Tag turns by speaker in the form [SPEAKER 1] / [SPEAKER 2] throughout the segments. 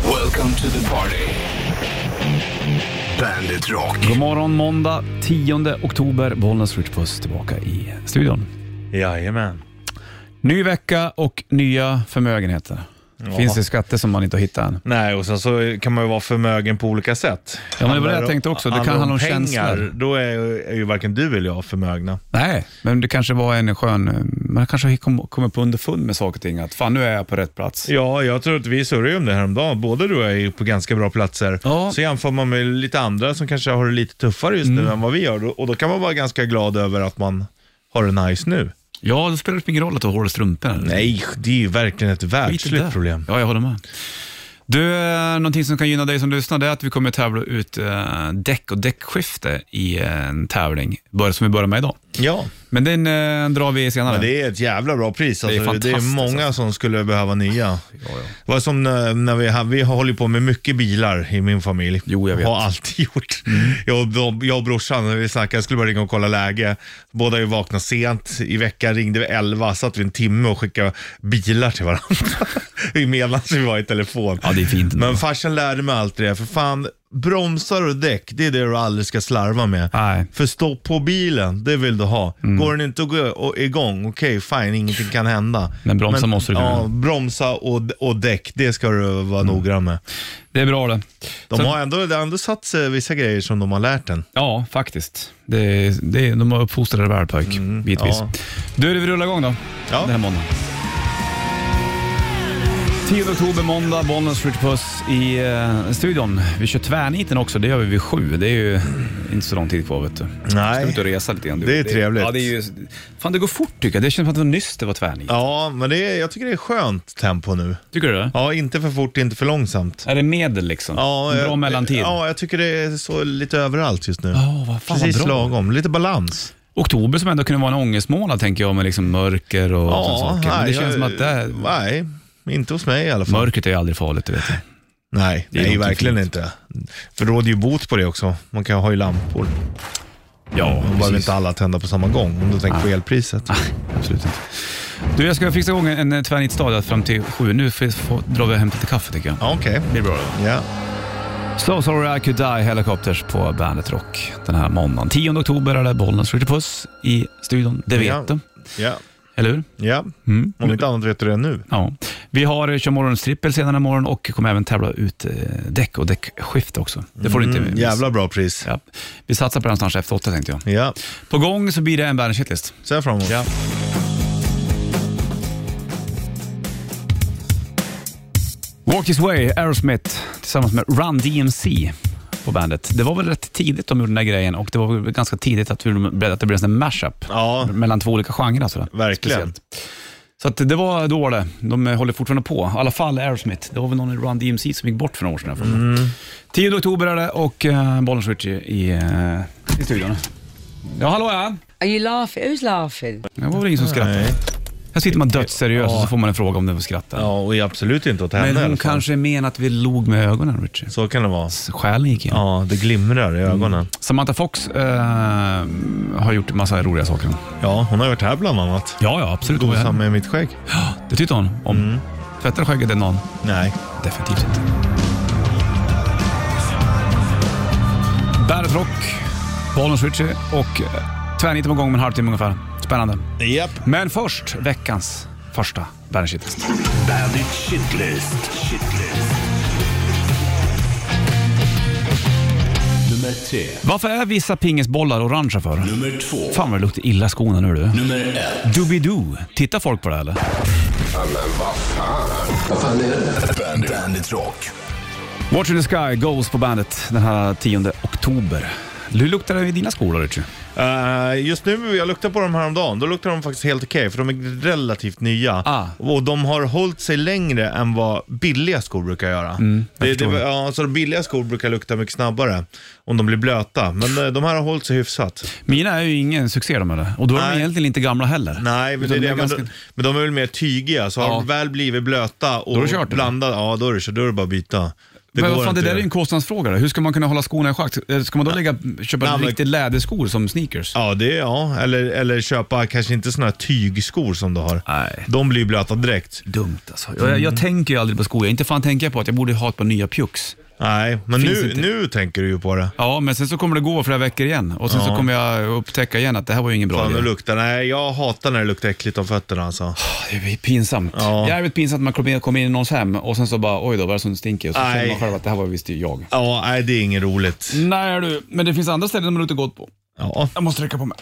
[SPEAKER 1] Welcome to the party. Bandit Rock.
[SPEAKER 2] God morgon måndag 10 oktober. Bollnäs Rich Puss tillbaka i studion.
[SPEAKER 3] Jajamän.
[SPEAKER 2] Ny vecka och nya förmögenheter. Finns det skatter som man inte har hittat än?
[SPEAKER 3] Nej, och sen så kan man ju vara förmögen på olika sätt.
[SPEAKER 2] Ja, men det var det
[SPEAKER 3] Handlar
[SPEAKER 2] jag tänkte också. Det kan
[SPEAKER 3] handlar
[SPEAKER 2] handla om
[SPEAKER 3] pengar,
[SPEAKER 2] känslor.
[SPEAKER 3] Då är, ju- är ju varken du eller jag förmögna.
[SPEAKER 2] Nej, men det kanske var en skön... eh, Man kanske har kom- kommit på underfund med saker och ting. Att fan, nu är jag på rätt plats.
[SPEAKER 3] Ja, jag tror att vi surrade ju om det häromdagen. Både du och jag är ju på ganska bra platser.
[SPEAKER 2] Ja.
[SPEAKER 3] Så jämför man med lite andra som kanske har det lite tuffare just nu än vad vi har. Och då kan man vara ganska glad över att man har det nice nu.
[SPEAKER 2] Ja, då spelar det ingen roll att du har hål i strumporna. eller?
[SPEAKER 3] Nej, det är ju verkligen ett
[SPEAKER 2] Skit i det.
[SPEAKER 3] världsligt problem.
[SPEAKER 2] Ja, jag håller med. Du, eh, någonting som kan gynna dig som lyssnar det är att vi kommer tävla ut eh, däck och däckskifte i en tävling bör- som vi börjar med idag.
[SPEAKER 3] Ja,
[SPEAKER 2] Men den eh, drar vi senare.
[SPEAKER 3] men det är ett jävla bra pris.
[SPEAKER 2] är
[SPEAKER 3] Alltså, det, är
[SPEAKER 2] fantastiskt,
[SPEAKER 3] många som skulle behöva nya. Det var som när, när vi, har- vi har hållit på med mycket bilar i min familj.
[SPEAKER 2] Jo, jag vet. Mm.
[SPEAKER 3] Har alltid gjort. Jag, och- jag och brorsan, när vi snackade, jag skulle bara ringa och kolla läge. Båda ju vakna sent. I veckan ringde vi 11, satt vi en timme och skickade bilar till varandra. I Medan vi var i telefon.
[SPEAKER 2] Ja, det är fint ändå.
[SPEAKER 3] Men farsan lärde mig alltid det, för fan. Bromsar och däck, det är det du aldrig ska slarva med.
[SPEAKER 2] Nej.
[SPEAKER 3] För stopp på bilen, det vill du ha.
[SPEAKER 2] Mm.
[SPEAKER 3] Går den inte att gå och- igång, okej fine, ingenting kan hända.
[SPEAKER 2] Men bromsa måste du kunna
[SPEAKER 3] Ja,
[SPEAKER 2] göra.
[SPEAKER 3] bromsa och, och däck, det ska du vara noggrann med.
[SPEAKER 2] Det är bra det.
[SPEAKER 3] De
[SPEAKER 2] Så-
[SPEAKER 3] har ändå, det har ändå satt sig vissa grejer som de har lärt en.
[SPEAKER 2] Ja, faktiskt. Det, det, de har uppfostrat dig väl pojk, bitvis.
[SPEAKER 3] Mm. ja.
[SPEAKER 2] Du, vi rullar igång då.
[SPEAKER 3] Ja.
[SPEAKER 2] Den här måndagen. 10 oktober måndag, Bollnäs Rich Puss i eh, studion. Vi kör tvärniten också, det gör vi vid sju. Det är ju inte så lång tid kvar vet du. Ska ut
[SPEAKER 3] Nej.
[SPEAKER 2] och resa lite grann. du.
[SPEAKER 3] Det är trevligt.
[SPEAKER 2] Ja, det är ju, fan det går fort tycker jag. Det känns som att det var nyss det var tvärnit.
[SPEAKER 3] Ja, men det är, jag tycker det är skönt tempo nu.
[SPEAKER 2] Tycker du det?
[SPEAKER 3] Ja, inte för fort, inte för långsamt.
[SPEAKER 2] Är det medel liksom?
[SPEAKER 3] Ja,
[SPEAKER 2] En bra
[SPEAKER 3] jag-
[SPEAKER 2] mellantid?
[SPEAKER 3] Ja, jag tycker det är så lite överallt just nu.
[SPEAKER 2] Ja, vad fan
[SPEAKER 3] Precis
[SPEAKER 2] vad bra.
[SPEAKER 3] lagom, lite balans.
[SPEAKER 2] Oktober som ändå kunde vara en ångestmånad tänker jag med liksom mörker och sådana saker. Men det
[SPEAKER 3] nej,
[SPEAKER 2] känns
[SPEAKER 3] jag-
[SPEAKER 2] som att det här,
[SPEAKER 3] Nej, inte hos mig i alla fall.
[SPEAKER 2] mörkret är ju aldrig farligt, det vet du.
[SPEAKER 3] Nej,
[SPEAKER 2] är
[SPEAKER 3] nej
[SPEAKER 2] någonting
[SPEAKER 3] verkligen inte. För råder ju bot på det också. Man kan ha ju lampor.
[SPEAKER 2] Ja,
[SPEAKER 3] Man behöver inte alla tända på samma gång om du tänker på
[SPEAKER 2] Ah.
[SPEAKER 3] elpriset.
[SPEAKER 2] Absolut inte. Du, jag ska fixa igång en, en tvärnitsdag där fram till sju. Nu får, får, drar vi hem lite kaffe tycker jag.
[SPEAKER 3] Ja, okej.
[SPEAKER 2] Det blir bra
[SPEAKER 3] Ja.
[SPEAKER 2] So sorry I could die, Helicopters på Bandet Rock den här måndagen. 10 oktober är det Bollnäs Ritchie Puss i studion. Det vet
[SPEAKER 3] Ja.
[SPEAKER 2] du,
[SPEAKER 3] Ja.
[SPEAKER 2] eller hur?
[SPEAKER 3] ja,
[SPEAKER 2] Mm.
[SPEAKER 3] om inte annat vet du det nu.
[SPEAKER 2] Ja. Vi har eh, kör morgonstrippel senare imorgon och kommer även tävla ut eh, däck och däckskift också. Det får du inte
[SPEAKER 3] Mm,
[SPEAKER 2] missa.
[SPEAKER 3] jävla bra pris.
[SPEAKER 2] Ja. Vi satsar på det någonstans efter åtta tänkte jag.
[SPEAKER 3] Ja,
[SPEAKER 2] På gång så blir det en Bandet Shitlist.
[SPEAKER 3] ser jag fram emot.
[SPEAKER 2] Ja. Walk This Way, Aerosmith tillsammans med Run DMC på bandet. Det var väl rätt tidigt de gjorde den där grejen och det var väl ganska tidigt att, vi, att det blev en sån här mashup
[SPEAKER 3] Ja,
[SPEAKER 2] mellan två olika genrer. Sådär.
[SPEAKER 3] Verkligen.
[SPEAKER 2] Så att det var då det. De håller fortfarande på. I alla fall Aerosmith. Det var väl någon i Run DMC som gick bort för några år sedan. Mm. 10 oktober är det och uh, Bollens Ritchie i, eh, i studion. Ja, hallå ja.
[SPEAKER 4] Are you laughing? Who's laughing?
[SPEAKER 2] Det var väl ingen som skrattade.
[SPEAKER 3] nej.
[SPEAKER 2] Här sitter man dödsseriös
[SPEAKER 3] Ja.
[SPEAKER 2] och så får man en fråga om den får skratta.
[SPEAKER 3] ja och absolut inte åt henne
[SPEAKER 2] Men
[SPEAKER 3] i
[SPEAKER 2] hon
[SPEAKER 3] alla fall.
[SPEAKER 2] kanske menar att vi log med ögonen, Richie.
[SPEAKER 3] Så kan det vara.
[SPEAKER 2] Själen gick igen.
[SPEAKER 3] Ja, det glimrar
[SPEAKER 2] Mm.
[SPEAKER 3] i ögonen.
[SPEAKER 2] Samantha Fox eh, har gjort massa roliga saker.
[SPEAKER 3] Ja, hon har varit här bland annat.
[SPEAKER 2] Ja, ja, absolut.
[SPEAKER 3] Gosar med mitt skägg.
[SPEAKER 2] Det tyckte hon om.
[SPEAKER 3] Mm.
[SPEAKER 2] Tvättade skägget den dagen?
[SPEAKER 3] Nej.
[SPEAKER 2] Definitivt inte. Bandet Rock, Bollnäs Ritchie och eh, tvärniten på gång med en halvtimme ungefär. Spännande.
[SPEAKER 3] Japp.
[SPEAKER 2] Men först veckans första Bandet Shitlist.
[SPEAKER 1] Bandit Shitlist. Shitlist. Nummer tre.
[SPEAKER 2] Varför är vissa pingisbollar orangea för?
[SPEAKER 1] Nummer två.
[SPEAKER 2] Fan vad det luktar illa i skorna nu du.
[SPEAKER 1] Nummer ett.
[SPEAKER 2] Doobidoo, tittar folk på det här, eller?
[SPEAKER 1] Bandit, Bandit Rock.
[SPEAKER 2] Watch in the Sky goes på bandet den här 10 oktober. Nu luktar det i dina skor då, Richie.
[SPEAKER 3] Eh, just nu, jag luktade på dem häromdagen, då luktar de faktiskt helt okej för de är relativt nya.
[SPEAKER 2] Ah.
[SPEAKER 3] Och de har hållit sig längre än vad billiga skor brukar göra. det, det,
[SPEAKER 2] Mm, förstår.
[SPEAKER 3] ja, så de billiga skor brukar lukta mycket snabbare om de blir blöta. Men eh, de här har hållit sig hyfsat.
[SPEAKER 2] Mina är ju ingen succé de eller? Och då är de
[SPEAKER 3] Nej.
[SPEAKER 2] egentligen inte gamla heller.
[SPEAKER 3] Nej, men, det,
[SPEAKER 2] Utan
[SPEAKER 3] är
[SPEAKER 2] de
[SPEAKER 3] det, men,
[SPEAKER 2] ganska-
[SPEAKER 3] de, men de är väl mer tygiga, så
[SPEAKER 2] Ja.
[SPEAKER 3] har de väl blivit blöta
[SPEAKER 2] Då är
[SPEAKER 3] och
[SPEAKER 2] det kört, eller?
[SPEAKER 3] blandade, ja då är det kört, då är det bara att byta. Det
[SPEAKER 2] men
[SPEAKER 3] går
[SPEAKER 2] vad fan, det
[SPEAKER 3] inte
[SPEAKER 2] där är
[SPEAKER 3] det.
[SPEAKER 2] ju en kostnadsfråga. då. Hur ska man kunna hålla skorna i schack? Eh, Ska man då lägga, köpa
[SPEAKER 3] Nej, men-
[SPEAKER 2] riktigt läderskor som sneakers?
[SPEAKER 3] Ja, det, ja. Eller, eller köpa kanske inte såna här tygskor som du har.
[SPEAKER 2] Nej.
[SPEAKER 3] De blir ju blöta direkt.
[SPEAKER 2] Dumt alltså. Jag,
[SPEAKER 3] Mm.
[SPEAKER 2] jag tänker ju aldrig på skor. Jag inte fan tänker jag på att jag borde ha ett par nya pjucks.
[SPEAKER 3] Nej, men
[SPEAKER 2] Finns
[SPEAKER 3] nu,
[SPEAKER 2] inte.
[SPEAKER 3] nu tänker du ju på det.
[SPEAKER 2] Ja, men sen så kommer det gå flera veckor igen och sen så kommer jag upptäcka igen att det här var ju ingen bra
[SPEAKER 3] Fan, det
[SPEAKER 2] idé.
[SPEAKER 3] luktar. Nej, jag hatar när det luktar äckligt om fötterna alltså.
[SPEAKER 2] Ah, Det är pinsamt.
[SPEAKER 3] Ja.
[SPEAKER 2] Jävligt pinsamt att man kommer in- kommer in i någons hem och sen så bara, oj då, vad är det som stinker? Och så
[SPEAKER 3] Nej.
[SPEAKER 2] känner man själv att det här var visst jag.
[SPEAKER 3] Ja, nej det är inget roligt.
[SPEAKER 2] Nej du, men det finns andra ställen man luktar gott på.
[SPEAKER 3] Ja,
[SPEAKER 2] Jag måste räcka på mig.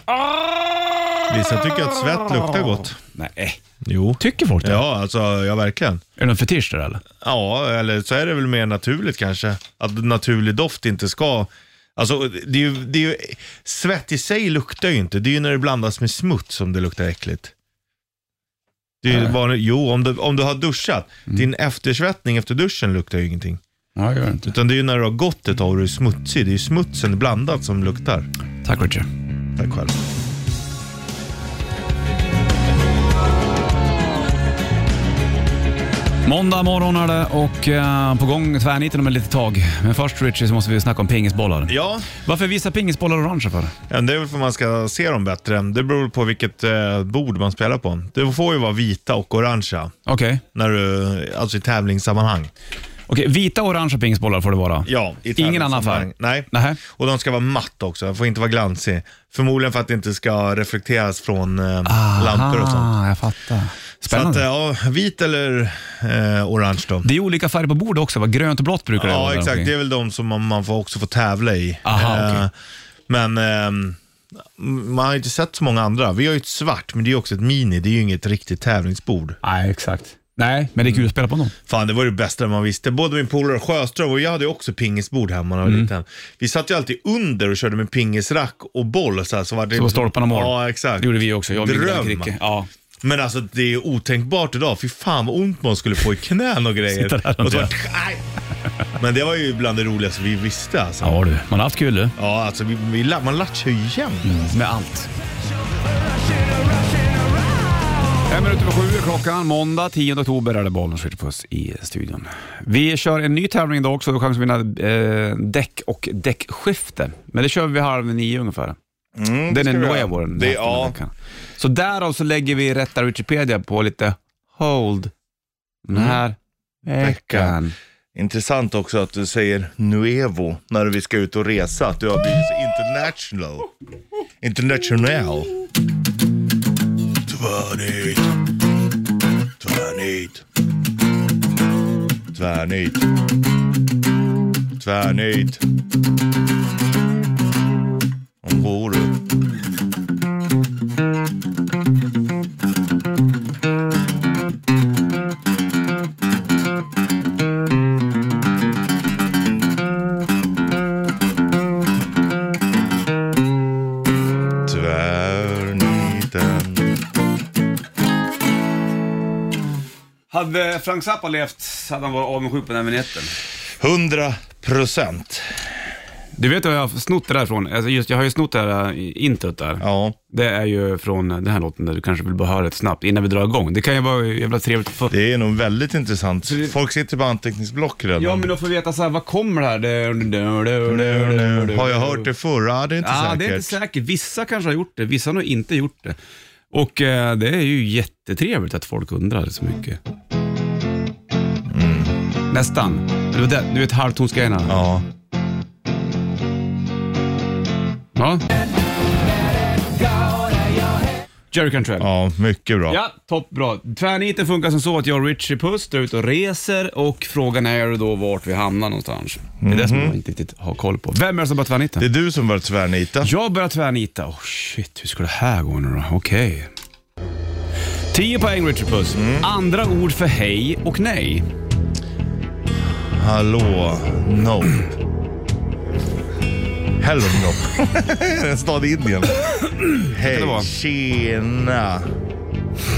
[SPEAKER 3] vissa tycker att svett luktar gott.
[SPEAKER 2] Nej.
[SPEAKER 3] Jo.
[SPEAKER 2] Tycker folk det?
[SPEAKER 3] Ja, alltså ja verkligen.
[SPEAKER 2] Är det någon fetisch där eller?
[SPEAKER 3] Ja, eller så är det väl mer naturligt kanske. Att naturlig doft inte ska... Alltså, det är ju, det är ju, svett i sig luktar ju inte. Det är ju när det blandas med smuts som det luktar äckligt. Det är ju bara, jo, om du, om du har duschat.
[SPEAKER 2] Mm.
[SPEAKER 3] Din eftersvettning efter duschen luktar ju ingenting.
[SPEAKER 2] Nej, jag gör inte.
[SPEAKER 3] Utan det är ju när du har gått ett tag och du är smutsig. Det är ju smutsen blandat som luktar.
[SPEAKER 2] Tack Richard.
[SPEAKER 3] Tack själv.
[SPEAKER 2] Måndag morgon är det och eh, på gång tvärniten om ett litet tag. Men först Richard så måste vi snacka om pingisbollar.
[SPEAKER 3] Ja,
[SPEAKER 2] Varför är vissa pingisbollar orange för?
[SPEAKER 3] Ja, det är väl för att man ska se dem bättre. Det beror på vilket eh, bord man spelar på. Det får ju vara vita och orangea.
[SPEAKER 2] Okej.
[SPEAKER 3] När du, alltså i tävlingssammanhang.
[SPEAKER 2] Okej, vita och orangea pingisbollar får det vara.
[SPEAKER 3] Ja, i
[SPEAKER 2] Ingen annan
[SPEAKER 3] tävlingssammanhang.
[SPEAKER 2] färg?
[SPEAKER 3] Nej.
[SPEAKER 2] Nähä.
[SPEAKER 3] Och de ska vara matt också, de får inte vara glansig. Förmodligen för att det inte ska reflekteras från eh, lampor och sånt.
[SPEAKER 2] Ah, jag fattar.
[SPEAKER 3] Så att,
[SPEAKER 2] Spännande.
[SPEAKER 3] eh, ja, vit eller eh, orange då.
[SPEAKER 2] det är olika färger på bordet också, va? grönt och blått brukar det vara.
[SPEAKER 3] Ja,
[SPEAKER 2] där
[SPEAKER 3] exakt.
[SPEAKER 2] omkring.
[SPEAKER 3] Det är väl de som man, man får också får tävla i. Eh,
[SPEAKER 2] Aha, okej.
[SPEAKER 3] Men ehm, man har ju inte sett så många andra. Vi har ju ett svart, men det är ju också ett mini. Det är ju inget riktigt tävlingsbord.
[SPEAKER 2] Nej, exakt. Nej, men det är kul att spela på dem.
[SPEAKER 3] Fan, det var det bästa man visste. Både min polare Sjöström och jag hade ju också pingisbord hemma när jag var
[SPEAKER 2] Mm.
[SPEAKER 3] liten. Vi satt ju alltid under och körde med pingisrack och boll. Så, här, så, var det...
[SPEAKER 2] Så var stolparna mål.
[SPEAKER 3] Ja, exakt.
[SPEAKER 2] Det gjorde vi också. Jag och min lilla
[SPEAKER 3] Dröm.
[SPEAKER 2] Kricke. Ja.
[SPEAKER 3] Men alltså det är otänkbart idag. Fy fan vad ont man skulle få i knän och grejer.
[SPEAKER 2] Sitta där och
[SPEAKER 3] och så
[SPEAKER 2] dö.
[SPEAKER 3] bara, "Aj!" Men det var ju bland det roligaste vi visste alltså.
[SPEAKER 2] ja du, man har haft kul du.
[SPEAKER 3] Ja, alltså vi, vi, la- man latchar ju igen.
[SPEAKER 2] Med allt. Fem minuter över sju är klockan. Måndag 10 oktober är det bollen skjuter puss i studion. Vi kör en ny tävling idag också. Du har chans att vinna eh, däck och däckskifte. Men det kör vi vid halv nio ungefär. den är
[SPEAKER 3] ska vi göra.
[SPEAKER 2] Nuevo den
[SPEAKER 3] Mm, Det-
[SPEAKER 2] här
[SPEAKER 3] ja.
[SPEAKER 2] veckan. Så därav så lägger vi rätta Wikipedia på lite hold den här veckan.
[SPEAKER 3] Intressant också att du säger Nuevo när vi ska ut och resa. Att du har blivit så international. International. Tvärnit. Tvärnit. Tvärnit. Tvärnit. Om går du. Tvärniten.
[SPEAKER 2] Hade Frank Zappa levt hade han varit avundsjuk på den här vignetten.
[SPEAKER 3] 100 procent.
[SPEAKER 2] Du vet vad jag har snott det där från? Alltså just, jag har ju snott det här eh, introt där.
[SPEAKER 3] Ja.
[SPEAKER 2] Det är ju från den här låten där du kanske vill bara höra det snabbt innan vi drar igång. Det kan ju vara jävla trevligt att få...
[SPEAKER 3] Det är nog väldigt intressant.
[SPEAKER 2] det-
[SPEAKER 3] Folk sitter på anteckningsblock redan.
[SPEAKER 2] Ja, men då får vi veta så här, vad kommer det här? Det-
[SPEAKER 3] Har jag hört det förr? Ja, det är inte
[SPEAKER 2] Ja,
[SPEAKER 3] säkert.
[SPEAKER 2] det är inte säkert. Vissa kanske har gjort det, vissa har nog inte gjort det. Och eh, det är ju jättetrevligt att folk undrar så mycket. Mm. Nästan. Du vet, du vet halvtonsgrejerna?
[SPEAKER 3] Ja.
[SPEAKER 2] Ja. Jerry Cantrell.
[SPEAKER 3] ja, mycket bra.
[SPEAKER 2] Ja, toppbra. Tvärniten funkar som så att jag och Richie Puss är ute och reser och frågan är ju då vart vi hamnar någonstans. Det är det som jag inte riktigt har koll på. Vem är det som börjar tvärnita?
[SPEAKER 3] Det är du som börjat tvärnita.
[SPEAKER 2] Jag börjar tvärnita. Oh shit, hur ska det här gå nu då? Okej. 10 poäng Richie Puss.
[SPEAKER 3] Mm.
[SPEAKER 2] Andra ord för hej och nej.
[SPEAKER 3] Hallå, no. Hello no. Är det en stad i Indien?
[SPEAKER 2] det vara.
[SPEAKER 3] Hej, tjena.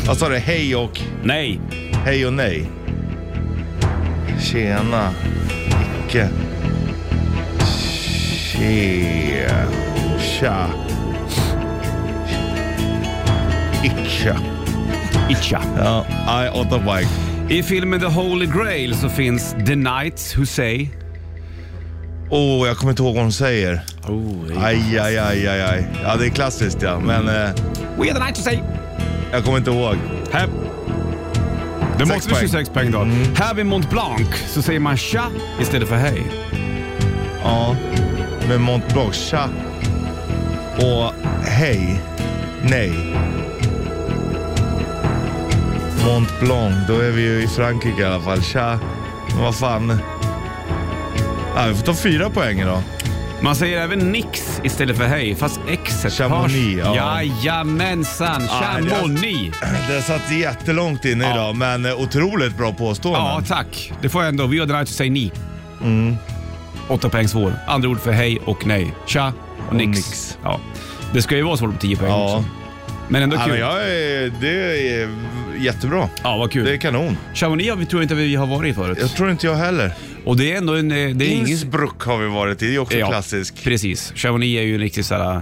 [SPEAKER 3] Vad sa du? Hej och?
[SPEAKER 2] Nej.
[SPEAKER 3] Hej och nej. Tjena. Icke. Tje. Tja. Icke.
[SPEAKER 2] Itcha.
[SPEAKER 3] Ja, nej, åtta poäng.
[SPEAKER 2] I filmen The Holy Grail så finns The Knights Who Say
[SPEAKER 3] Åh, jag kommer inte ihåg vad hon säger. Oh. Aj, aj, aj, aj, aj. Ja, det är klassiskt ja, men eh,
[SPEAKER 2] We are the night to say.
[SPEAKER 3] jag kommer inte ihåg.
[SPEAKER 2] Här. Det
[SPEAKER 3] Sex
[SPEAKER 2] måste bli
[SPEAKER 3] poäng. Mm.
[SPEAKER 2] 26 poäng då. Här vid Mont Blanc så säger man tja istället för hej.
[SPEAKER 3] Ja, men Mont Blanc, tja. Och hej, nej. Mont Blanc, då är vi ju i Frankrike i alla fall. Tja, men vad fan. Ja, vi får ta fyra poäng idag.
[SPEAKER 2] Man säger även nix istället för hej, fast exet
[SPEAKER 3] Chamonix,
[SPEAKER 2] hörs.
[SPEAKER 3] ja.
[SPEAKER 2] Jajamensan,
[SPEAKER 3] Ah, det-
[SPEAKER 2] Chamonix.
[SPEAKER 3] Det satt jättelångt inne
[SPEAKER 2] Ja.
[SPEAKER 3] idag, men eh, otroligt bra
[SPEAKER 2] Ja,
[SPEAKER 3] påståenden.
[SPEAKER 2] tack. Det får jag ändå. Vi gör den här till säg ni.
[SPEAKER 3] Mm.
[SPEAKER 2] Åtta poäng svår. Andra ord för hej och nej. Tja och nix.
[SPEAKER 3] nix.
[SPEAKER 2] Ja. Det ska ju vara svårt på 10 poäng
[SPEAKER 3] Ja.
[SPEAKER 2] också. Men ändå
[SPEAKER 3] Ja,
[SPEAKER 2] kul.
[SPEAKER 3] men
[SPEAKER 2] Ja,
[SPEAKER 3] jag är, det är jättebra.
[SPEAKER 2] vad kul.
[SPEAKER 3] Det är kanon.
[SPEAKER 2] Chamonix har vi- tror jag inte vi har varit förut.
[SPEAKER 3] Jag tror inte jag heller.
[SPEAKER 2] Och det är ändå en... eh, Det är ingen...
[SPEAKER 3] Innsbruck har vi varit i, det är också klassisk.
[SPEAKER 2] Precis. Chamonix är ju en riktig såhär,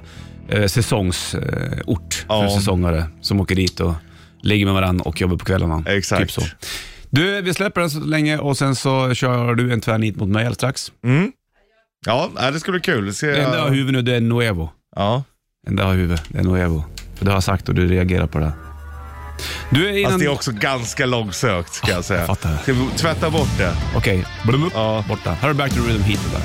[SPEAKER 2] eh, säsongsort
[SPEAKER 3] Ja.
[SPEAKER 2] för säsongare som åker dit och ligger med varandra och jobbar på kvällarna.
[SPEAKER 3] Exakt.
[SPEAKER 2] Typ så. Du, vi släpper den så länge och sen så kör du en tvärnit mot mig alldeles strax.
[SPEAKER 3] Ja, nej, det ska bli kul. Se,
[SPEAKER 2] Det enda jag har i huvudet nu det är Nuevo.
[SPEAKER 3] ja.
[SPEAKER 2] Det enda jag har i huvudet det är Nuevo. För det har jag sagt och du reagerar på det. Du är innan... Ah,
[SPEAKER 3] Fast Alltså, det är också ganska långsökt ska jag säga.
[SPEAKER 2] jag fattar.
[SPEAKER 3] Ska vi tvätta bort det?
[SPEAKER 2] Okej, blum, upp,
[SPEAKER 3] Ja.
[SPEAKER 2] borta. Här är Back to the Rhythm Heat. Där.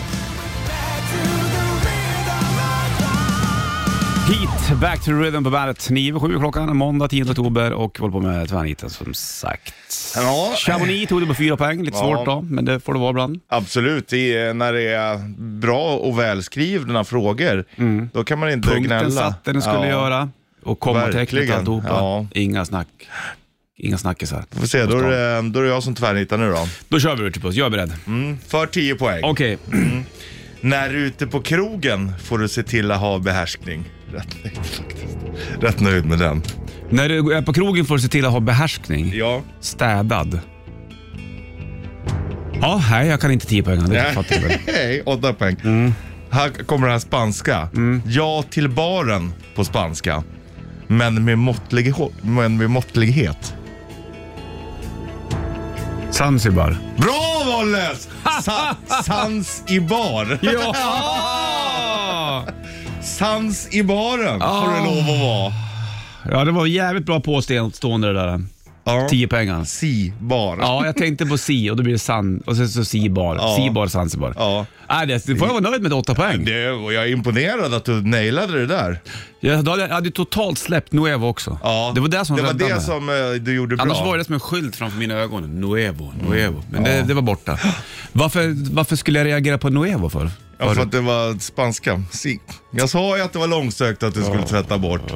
[SPEAKER 2] Heat, Back to the Rhythm på bandet. 9 över 7 klockan, måndag 10 oktober och vi håller på med tvärniten som sagt.
[SPEAKER 3] Ja.
[SPEAKER 2] Chamonix tog det på fyra poäng, lite
[SPEAKER 3] Ja.
[SPEAKER 2] svårt då, men det får det vara ibland.
[SPEAKER 3] Absolut, det är, när det är bra och välskrivna frågor, då kan man inte
[SPEAKER 2] Mm. Punkten
[SPEAKER 3] gnälla.
[SPEAKER 2] satte den skulle
[SPEAKER 3] ja.
[SPEAKER 2] göra och kommatecknet
[SPEAKER 3] Verkligen.
[SPEAKER 2] alltihopa.
[SPEAKER 3] Ja.
[SPEAKER 2] Inga snack. Inga snackisar.
[SPEAKER 3] Vi får se, då är, det, då är det jag som tvärnitar nu då.
[SPEAKER 2] Då kör vi Ritchie jag är beredd.
[SPEAKER 3] Mm, för 10 poäng.
[SPEAKER 2] Okej,
[SPEAKER 3] När du är ute på krogen får du se till att ha behärskning. Rätt nöjd faktiskt. Rätt nöjd med den.
[SPEAKER 2] när du är på krogen får du se till att ha behärskning.
[SPEAKER 3] Ja.
[SPEAKER 2] Städad. Ja, nej, jag kan inte tio poäng. Det fattar jag väl.
[SPEAKER 3] Hej, åtta poäng. Här kommer det här spanska. Ja till baren på spanska. Men med, måttlig, men med måttlighet.
[SPEAKER 2] Zanzibar.
[SPEAKER 3] Bra Wolles! Sa, sans i bar.
[SPEAKER 2] Ja!
[SPEAKER 3] Sans i baren får det
[SPEAKER 2] Ah.
[SPEAKER 3] lov att vara.
[SPEAKER 2] ja, det var jävligt bra påstående det där.
[SPEAKER 3] Ja.
[SPEAKER 2] Tio poäng alltså.
[SPEAKER 3] Si-bar.
[SPEAKER 2] Ja, jag tänkte på si och då blir det san och sen så si-bar.
[SPEAKER 3] Ja.
[SPEAKER 2] Si-bar, Zanzibar.
[SPEAKER 3] Ja.
[SPEAKER 2] Nej, det det får jag vara nöjd med åtta poäng.
[SPEAKER 3] Det, och jag är imponerad att du nailade det där.
[SPEAKER 2] Jag hade, jag hade total släppt Nuevo också.
[SPEAKER 3] Ja.
[SPEAKER 2] Det var det som
[SPEAKER 3] det var
[SPEAKER 2] räddade
[SPEAKER 3] det
[SPEAKER 2] mig.
[SPEAKER 3] som eh, du gjorde bra. Mm.
[SPEAKER 2] Annars var det som en skylt framför mina ögon. Nuevo, Nuevo. Men det, det var borta. Varför, varför skulle jag reagera på Nuevo för?
[SPEAKER 3] Ja, för att det var spanska. Si. Jag sa ju att det var långsökt att du skulle tvätta bort.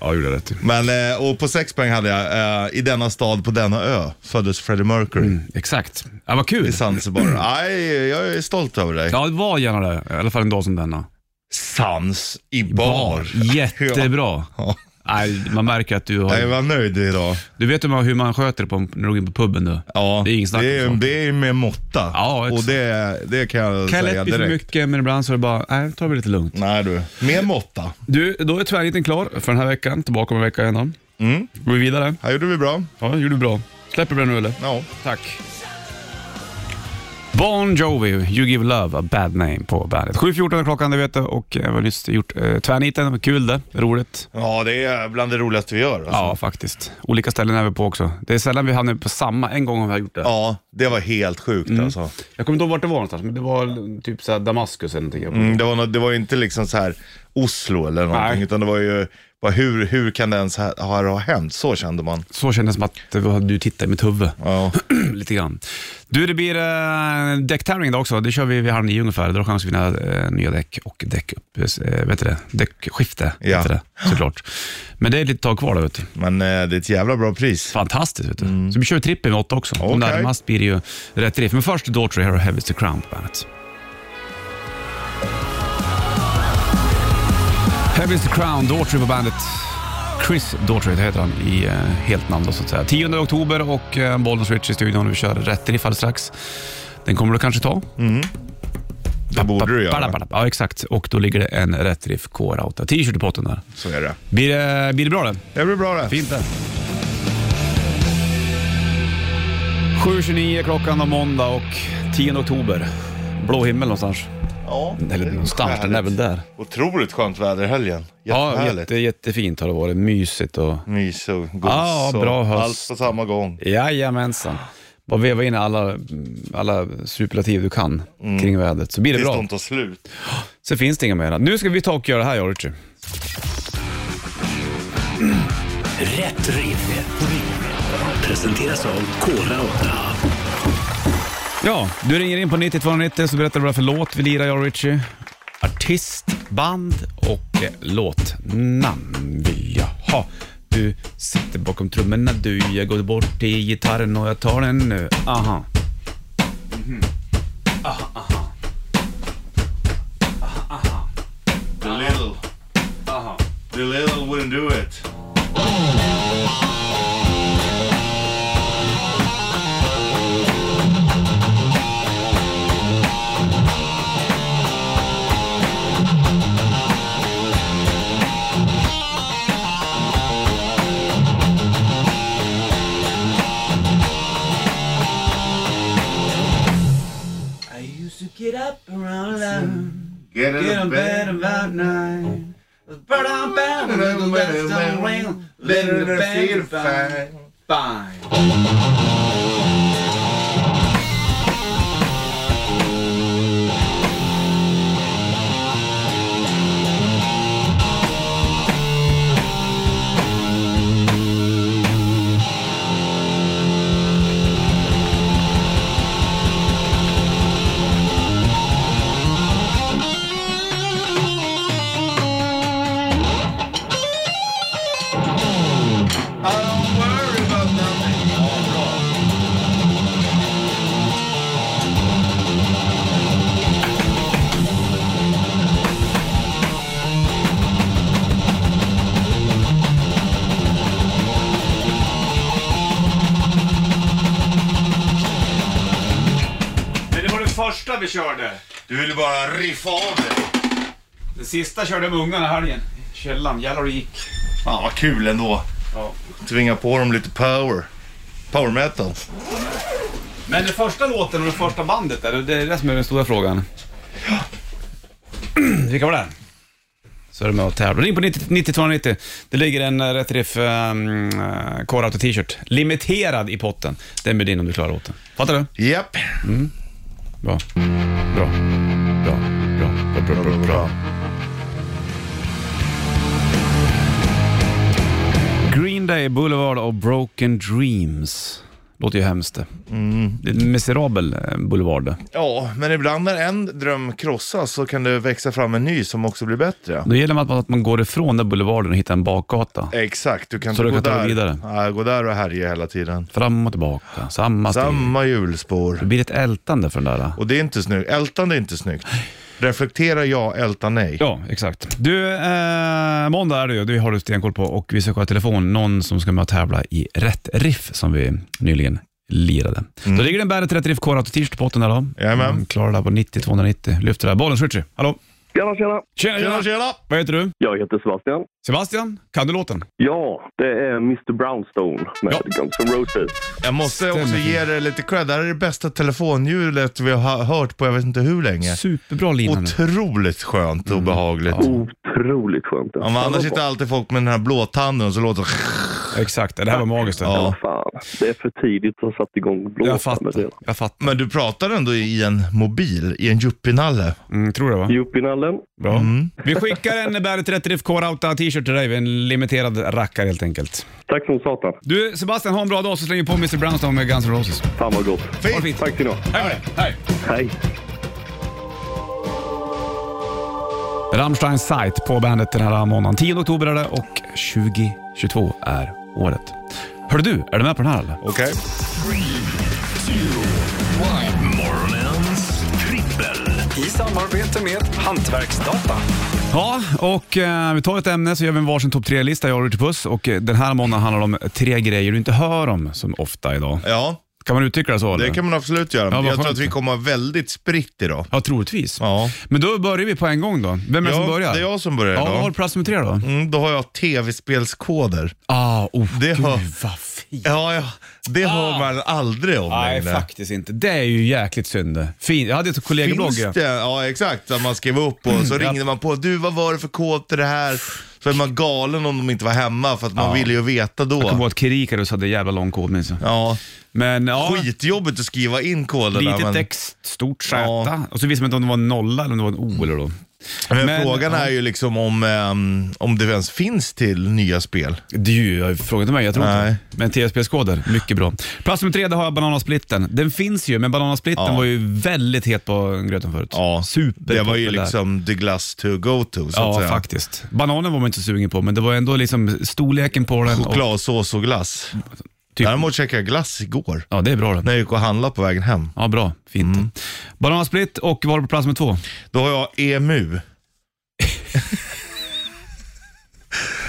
[SPEAKER 2] Ja, gjorde rätt
[SPEAKER 3] Men, eh, och på sex poäng hade jag, eh, i denna stad på denna ö föddes Freddie Mercury
[SPEAKER 2] Mm. Exakt. Ja, vad kul.
[SPEAKER 3] i Zanzibar. Aj, jag är stolt över dig.
[SPEAKER 2] Ja, det var gärna det. I alla fall en dag som denna.
[SPEAKER 3] Sans i bar.
[SPEAKER 2] Jättebra.
[SPEAKER 3] Ja.
[SPEAKER 2] Nej, man märker att du
[SPEAKER 3] Ja. Jag
[SPEAKER 2] har...
[SPEAKER 3] var nöjd idag.
[SPEAKER 2] Du vet hur man, hur man sköter det på, när du går in på puben du.
[SPEAKER 3] Ja,
[SPEAKER 2] Det är ingen snack
[SPEAKER 3] det, är,
[SPEAKER 2] om
[SPEAKER 3] det är med måtta.
[SPEAKER 2] Ja, exakt.
[SPEAKER 3] och det, det kan jag
[SPEAKER 2] Kan jag
[SPEAKER 3] säga
[SPEAKER 2] lätt bli för
[SPEAKER 3] direkt.
[SPEAKER 2] mycket, men ibland så är det bara, nej, ta det lite lugnt.
[SPEAKER 3] Nej du, med måtta.
[SPEAKER 2] Du, då är tvärniten klar för den här veckan. Tillbaka om en vecka igen då.
[SPEAKER 3] Mm.
[SPEAKER 2] Går vi vidare?
[SPEAKER 3] Här gjorde vi bra.
[SPEAKER 2] Ja, gjorde du bra. Släpper vi den nu eller?
[SPEAKER 3] Ja.
[SPEAKER 2] Tack. Bon Jovi, You Give Love A Bad Name på bandet. 7.14 är klockan, det vet du. Och jag har nyss gjort eh, tvärniten. Kul det, roligt.
[SPEAKER 3] ja, det är bland det roligaste vi gör. Alltså.
[SPEAKER 2] Ja, faktiskt. Olika ställen är vi på också. Det är sällan vi hamnar på samma. En gång har vi gjort det.
[SPEAKER 3] Ja, det var helt sjukt
[SPEAKER 2] Mm.
[SPEAKER 3] alltså.
[SPEAKER 2] Jag kommer inte ihåg vart det var någonstans, men det var typ så här Damaskus eller någonting.
[SPEAKER 3] Mm, det, var nå- det var ju inte liksom så här Oslo eller någonting,
[SPEAKER 2] Nej.
[SPEAKER 3] utan det var ju, bara hur, hur kan det ens ha, ha, ha hänt? Så kände man.
[SPEAKER 2] Så kändes det som att det var- du tittade i mitt huvud.
[SPEAKER 3] Ja.
[SPEAKER 2] Lite grann. Du, det blir eh, däcktävling idag också. Det kör vi vid halv nio ungefär. Då har du chans att vinna eh, nya däck och däck upp, eh, vet du det? däckskifte.
[SPEAKER 3] Ja.
[SPEAKER 2] Vet du det? Såklart. Men det är lite tag kvar då, vet du.
[SPEAKER 3] Men eh, det är ett jävla bra pris.
[SPEAKER 2] Fantastiskt, vet du. Så vi kör trippen med åtta också. Och
[SPEAKER 3] Mm. Okej.
[SPEAKER 2] närmast blir det ju rätt riff. Men först Daughtry här och Heavy's the Crown på bandet. Heavy's the Crown, Daughtry på bandet. Chris Daughtry det heter han i eh, helt namn då, så att säga. 10 oktober och eh, Bollnäs Rich i studion. Vi kör rätt riff alldeles strax. Den kommer du kanske ta?
[SPEAKER 3] Det borde du göra.
[SPEAKER 2] Ba-da-ba-da. Ja, exakt. Och då ligger det en rätt riff K-Rauta. T-shirt i potten där.
[SPEAKER 3] Så är det.
[SPEAKER 2] Blir det, blir det bra det?
[SPEAKER 3] Det blir bra det.
[SPEAKER 2] Fint det. 7.29 klockan och måndag och 10 oktober. Blå himmel någonstans.
[SPEAKER 3] Ja,
[SPEAKER 2] Eller
[SPEAKER 3] det är
[SPEAKER 2] någonstans, den är väl där.
[SPEAKER 3] Otroligt skönt väder i helgen.
[SPEAKER 2] Ja,
[SPEAKER 3] Jättehärligt.
[SPEAKER 2] jätte, jättefint har det varit. Mysigt och...
[SPEAKER 3] Mys och gos
[SPEAKER 2] Ja, bra
[SPEAKER 3] och
[SPEAKER 2] höst.
[SPEAKER 3] allt på samma gång.
[SPEAKER 2] Jajamensan. Bara veva in alla, alla superlativ du kan kring vädret så blir det
[SPEAKER 3] Tills
[SPEAKER 2] bra.
[SPEAKER 3] Mm. de tar slut.
[SPEAKER 2] Så finns det inga mera. Nu ska vi ta och göra det här, George.
[SPEAKER 1] Rätt riff. Presenteras av Kora 8.
[SPEAKER 2] Ja, du ringer in på 9290 så berättar du vad för låt vi lirar, jag och Richie. Artist, band och eh, låtnamn vill jag ha. Du sitter bakom trummorna du, jag går bort till gitarren och jag tar den nu. Aha.
[SPEAKER 3] The little, the little wouldn't do it. Get in the bed and Later than I feel fine. I don't worry about nothing.
[SPEAKER 2] Men det var det första vi körde.
[SPEAKER 3] Du ville bara riffa av det.
[SPEAKER 2] Det sista körde jag med ungarna i helgen. Källan, jävlar det gick.
[SPEAKER 3] Fan vad kul ändå.
[SPEAKER 2] Ja.
[SPEAKER 3] Tvinga på dem lite power. Power metal.
[SPEAKER 2] Men den första låten och det första bandet, där, det är det som är den stora frågan. Vilka var det? Så är det med att tävla. Ring på 90 9290. Det ligger en eh, Rätt Riff um, Core T-shirt. Limiterad i potten. Den blir din om du klarar åt den. Fattar du?
[SPEAKER 3] Japp.
[SPEAKER 2] Bra. Bra. Bra. Bra. Bra. Bra. Bra. Bra. Green Day, Boulevard och Broken Dreams. Låter ju hemskt det. Det är en miserabel eh, boulevard det.
[SPEAKER 3] Ja, men ibland när en dröm krossas så kan det växa fram en ny som också blir bättre.
[SPEAKER 2] Då gäller det att man, att man går ifrån den boulevarden och hittar en bakgata.
[SPEAKER 3] Exakt, du kan
[SPEAKER 2] Så
[SPEAKER 3] inte
[SPEAKER 2] du
[SPEAKER 3] gå
[SPEAKER 2] kan ta dig
[SPEAKER 3] där.
[SPEAKER 2] vidare.
[SPEAKER 3] Ja, gå där och härja hela tiden.
[SPEAKER 2] Fram och tillbaka, samma stil.
[SPEAKER 3] Samma
[SPEAKER 2] Det
[SPEAKER 3] hjulspår.
[SPEAKER 2] blir ett ältande för den där.
[SPEAKER 3] Och det är inte snyggt. Ältande är inte snyggt. Reflektera ja, älta nej.
[SPEAKER 2] Ja, exakt. Du, eh, måndag är det ju, det har du stenkoll på och vi ska kolla telefon. Någon som ska med och tävla i Rätt Riff som vi nyligen lirade. Då ligger det en Bandet Rätt Riff Kårat och t-shirt på botten där då.
[SPEAKER 3] Mm.
[SPEAKER 2] Mm,
[SPEAKER 3] Jajamän.
[SPEAKER 2] Klarar det här på 90-290. Lyfter det här. Bollen switcher. Hallå?
[SPEAKER 5] Tjena, tjena!
[SPEAKER 2] Tjena,
[SPEAKER 3] Tjena,
[SPEAKER 2] tjena,
[SPEAKER 3] tjena!
[SPEAKER 2] Vad heter du?
[SPEAKER 5] Jag heter Sebastian.
[SPEAKER 2] Sebastian, kan du låten?
[SPEAKER 5] Ja, det är Mr Brownstone med
[SPEAKER 2] Ja.
[SPEAKER 5] Guns N' Roses.
[SPEAKER 3] Jag måste
[SPEAKER 2] Stämmer.
[SPEAKER 3] också ge dig lite cred. Det här är det bästa telefonhjulet vi har hört på jag vet inte hur länge.
[SPEAKER 2] Superbra lina nu.
[SPEAKER 3] Otroligt skönt
[SPEAKER 2] Mm.
[SPEAKER 3] och behagligt.
[SPEAKER 5] Otroligt skönt.
[SPEAKER 3] Ja, men annars sitter alltid folk med den här blåtanden och så låter det...
[SPEAKER 2] Exakt, det här var magiskt.
[SPEAKER 3] Ja.
[SPEAKER 5] Fan, det är för tidigt att sätta igång
[SPEAKER 2] Jag
[SPEAKER 5] blåsandet
[SPEAKER 2] fattar.
[SPEAKER 5] redan.
[SPEAKER 2] Jag fattar.
[SPEAKER 3] Men du pratar ändå i en mobil, i en yuppienalle.
[SPEAKER 2] Mm, tror det va?
[SPEAKER 5] Jupinallen?
[SPEAKER 2] Bra.
[SPEAKER 3] Mm.
[SPEAKER 2] Vi skickar en Bandet Rätt Riff K-Rauta t-shirt till dig. En limiterad rackare helt enkelt.
[SPEAKER 5] Tack som satan.
[SPEAKER 2] Du Sebastian, ha en bra dag så slänger vi på Mr Brownstone med Guns N' Roses.
[SPEAKER 5] Fan vad gott.
[SPEAKER 2] Ha det fint.
[SPEAKER 5] Tack ska ni ha.
[SPEAKER 2] Hej med dig. Hej.
[SPEAKER 5] Hej.
[SPEAKER 2] Rammstein Sight på bandet den här månaden. 10 oktober är det och 2022 är året. Hör du, är du med på den här eller?
[SPEAKER 3] Okej?
[SPEAKER 1] Morgonens trippel.
[SPEAKER 6] i samarbete med Hantverksdata.
[SPEAKER 2] Ja, och eh, vi tar ett ämne så gör vi en varsin topp tre-lista, jag och Richard Puss. Och eh, den här månaden handlar om tre grejer du inte hör om som ofta idag.
[SPEAKER 3] Ja,
[SPEAKER 2] Kan man uttrycka det så? Eller?
[SPEAKER 3] det kan man absolut göra.
[SPEAKER 2] Ja, vad
[SPEAKER 3] jag tror
[SPEAKER 2] skönt.
[SPEAKER 3] att vi kommer vara väldigt spritt idag.
[SPEAKER 2] Ja, troligtvis.
[SPEAKER 3] Ja.
[SPEAKER 2] Men då börjar vi på en gång då. Vem är det
[SPEAKER 3] ja,
[SPEAKER 2] som börjar?
[SPEAKER 3] Det är jag som börjar
[SPEAKER 2] Ja,
[SPEAKER 3] idag.
[SPEAKER 2] vad har du plats nummer tre då?
[SPEAKER 3] Mm, då har jag tv-spelskoder.
[SPEAKER 2] Ah, oh,
[SPEAKER 3] Det
[SPEAKER 2] gud
[SPEAKER 3] har-
[SPEAKER 2] vad fint.
[SPEAKER 3] Ja, ja. Det hör man aldrig om
[SPEAKER 2] Ah. Nej,
[SPEAKER 3] längre.
[SPEAKER 2] faktiskt inte. Det är ju jäkligt synd. Fin. Jag hade ett eh, kollegeblogg.
[SPEAKER 3] Finns det? Ja, exakt. Att man skrev upp och
[SPEAKER 2] Mm,
[SPEAKER 3] så ringde man på. Du, vad var det för kod till det här? Så är man galen om de inte var hemma för att man ville ju veta
[SPEAKER 2] Jag kommer ihåg
[SPEAKER 3] då.
[SPEAKER 2] att Kirikarus hade jävla lång kod minns jag.
[SPEAKER 3] Ja,
[SPEAKER 2] Men ja,
[SPEAKER 3] skitjobbigt att skriva in koderna.
[SPEAKER 2] lite
[SPEAKER 3] men-
[SPEAKER 2] text, stort Z.
[SPEAKER 3] Ja.
[SPEAKER 2] Och så visste man inte om det var en nolla eller om det var en O eller då.
[SPEAKER 3] Men,
[SPEAKER 2] Men-
[SPEAKER 3] frågan är ju liksom om, ehm, om det ens finns till nya spel.
[SPEAKER 2] Det är ju, fråga inte mig, jag tror
[SPEAKER 3] Nej.
[SPEAKER 2] inte. Men TSB-koder, mycket bra. Plats nummer tre, där har jag bananasplitten. Den finns ju, men bananasplitten
[SPEAKER 3] Ja.
[SPEAKER 2] var ju väldigt het på gröten förut. Super
[SPEAKER 3] Det var ju liksom the glass to go to, så att
[SPEAKER 2] Ja,
[SPEAKER 3] säga.
[SPEAKER 2] faktiskt. Bananen var man inte så sugen på, men det var ändå liksom storleken på den. och-
[SPEAKER 3] Chokladsås och glass.
[SPEAKER 2] Typ.
[SPEAKER 3] Däremot käkade jag glass igår,
[SPEAKER 2] Ja, det är bra det.
[SPEAKER 3] när jag gick och handlade på vägen hem.
[SPEAKER 2] Ja, bra. Fint. Bananasplitt och var på plats med två?
[SPEAKER 3] Då har jag EMU.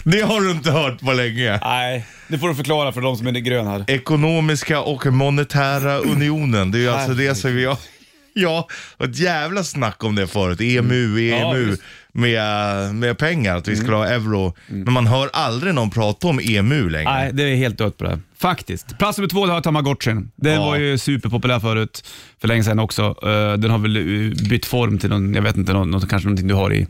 [SPEAKER 3] det har du inte hört på länge.
[SPEAKER 2] Nej, det får du förklara för de som är grön här.
[SPEAKER 3] Ekonomiska och monetära unionen. Det är ju alltså det som vi har... Ja, och ett jävla snack om det förut. E EMU, EMU
[SPEAKER 2] just.
[SPEAKER 3] med, med pengar, att vi skulle ha euro. Men man hör aldrig någon prata om EMU längre.
[SPEAKER 2] Nej, det är helt dött på det. här. Faktiskt. Plats nummer två, det har tamagotchin. Den
[SPEAKER 3] Ja.
[SPEAKER 2] var ju superpopulär förut, för länge sedan också. Eh, Den har väl eh, bytt form till någon, jag vet inte, någon, något, kanske någonting du har i,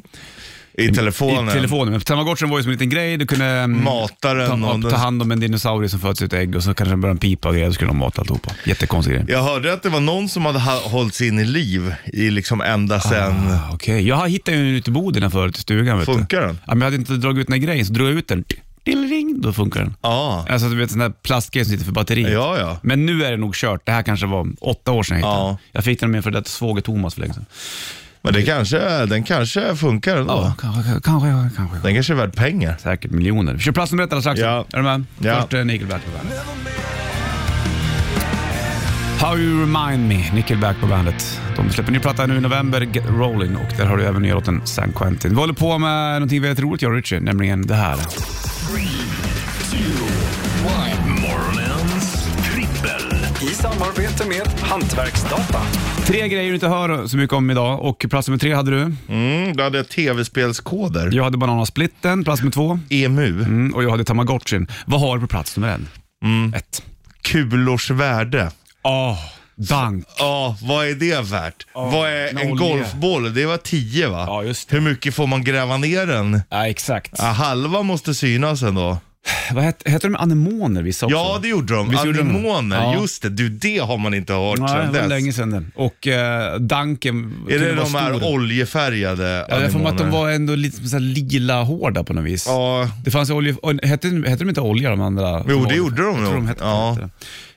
[SPEAKER 3] I telefonen.
[SPEAKER 2] i telefonen. Men tamagotchin var ju som en liten grej, du kunde mm,
[SPEAKER 3] Mata den
[SPEAKER 2] ta,
[SPEAKER 3] och den-
[SPEAKER 2] ta hand om en dinosaurie som föds ur ett ägg och så kanske den började pipa och grejer, då skulle de mata alltihopa. Jättekonstig grej.
[SPEAKER 3] Jag hörde att det var någon som hade ha- hållits in i liv i liksom ända sedan...
[SPEAKER 2] Ah, Okej, jag hittade ju den ute i Boden här förut i stugan. Vet
[SPEAKER 3] Funkar
[SPEAKER 2] du.
[SPEAKER 3] den?
[SPEAKER 2] Ja, men jag hade inte dragit ut den här grejen, så drog jag ut den. Dillring, då funkar den.
[SPEAKER 3] Ja.
[SPEAKER 2] Alltså du vet sån där plastgrej som sitter för batteriet.
[SPEAKER 3] Ja, ja.
[SPEAKER 2] Men nu är det nog kört. Det här kanske var åtta år sedan jag hittade
[SPEAKER 3] Ja.
[SPEAKER 2] den. Jag fick den av min före detta svåger Thomas för länge sedan.
[SPEAKER 3] Men det kanske, den kanske funkar ändå.
[SPEAKER 2] Ja, kanske, kanske, kanske.
[SPEAKER 3] Den kanske är värd pengar.
[SPEAKER 2] Säkert miljoner. Vi kör plats nummer ett alldeles strax.
[SPEAKER 3] Ja.
[SPEAKER 2] Är du med?
[SPEAKER 3] Ja.
[SPEAKER 2] Först eh, Nickelback på bandet. How You Remind Me, Nickelback på bandet. De släpper ny platta nu i november, Get Rolling, och där har du även nya låten San Quentin. Vi håller på med någonting väldigt roligt jag och Richie, nämligen det här.
[SPEAKER 1] Morgonens trippel.
[SPEAKER 6] I samarbete med Hantverksdata.
[SPEAKER 2] Tre grejer du inte hör så mycket om idag och plats nummer tre hade du.
[SPEAKER 3] Mm, då hade jag tv-spelskoder.
[SPEAKER 2] Jag hade Bananasplitten, plats nummer två.
[SPEAKER 3] EMU.
[SPEAKER 2] Mm, och jag hade Tamagotchin. Vad har du på plats nummer en?
[SPEAKER 3] Mm.
[SPEAKER 2] Ett.
[SPEAKER 3] Kulors värde.
[SPEAKER 2] Ah, dank.
[SPEAKER 3] Ja, vad är det värt? vad är
[SPEAKER 2] med
[SPEAKER 3] en
[SPEAKER 2] olja.
[SPEAKER 3] golfboll? Det var 10 va?
[SPEAKER 2] Ja, just det.
[SPEAKER 3] Hur mycket får man gräva ner den?
[SPEAKER 2] Ja, exakt.
[SPEAKER 3] Ja, halva måste synas ändå.
[SPEAKER 2] Vad het, heter de anemoner vissa också?
[SPEAKER 3] Ja, det gjorde de.
[SPEAKER 2] Visst gjorde de det?
[SPEAKER 3] Anemoner,
[SPEAKER 2] Ja.
[SPEAKER 3] just det. Du, det har man inte hört
[SPEAKER 2] Nej,
[SPEAKER 3] sedan
[SPEAKER 2] det var
[SPEAKER 3] dess.
[SPEAKER 2] länge sedan det. Och eh, danken
[SPEAKER 3] Är
[SPEAKER 2] kunde
[SPEAKER 3] det
[SPEAKER 2] vara
[SPEAKER 3] de här
[SPEAKER 2] stor.
[SPEAKER 3] oljefärgade
[SPEAKER 2] Ja, jag får mig att de
[SPEAKER 3] anemoner?
[SPEAKER 2] var ändå lite så här lila hårda på något vis.
[SPEAKER 3] Ja,
[SPEAKER 2] Det fanns ju olje... och Hette, hette de inte olja de andra?
[SPEAKER 3] Jo,
[SPEAKER 2] Som
[SPEAKER 3] det
[SPEAKER 2] var-
[SPEAKER 3] gjorde de
[SPEAKER 2] jag tror
[SPEAKER 3] nog.
[SPEAKER 2] de hette,
[SPEAKER 3] Ja.
[SPEAKER 2] hette det.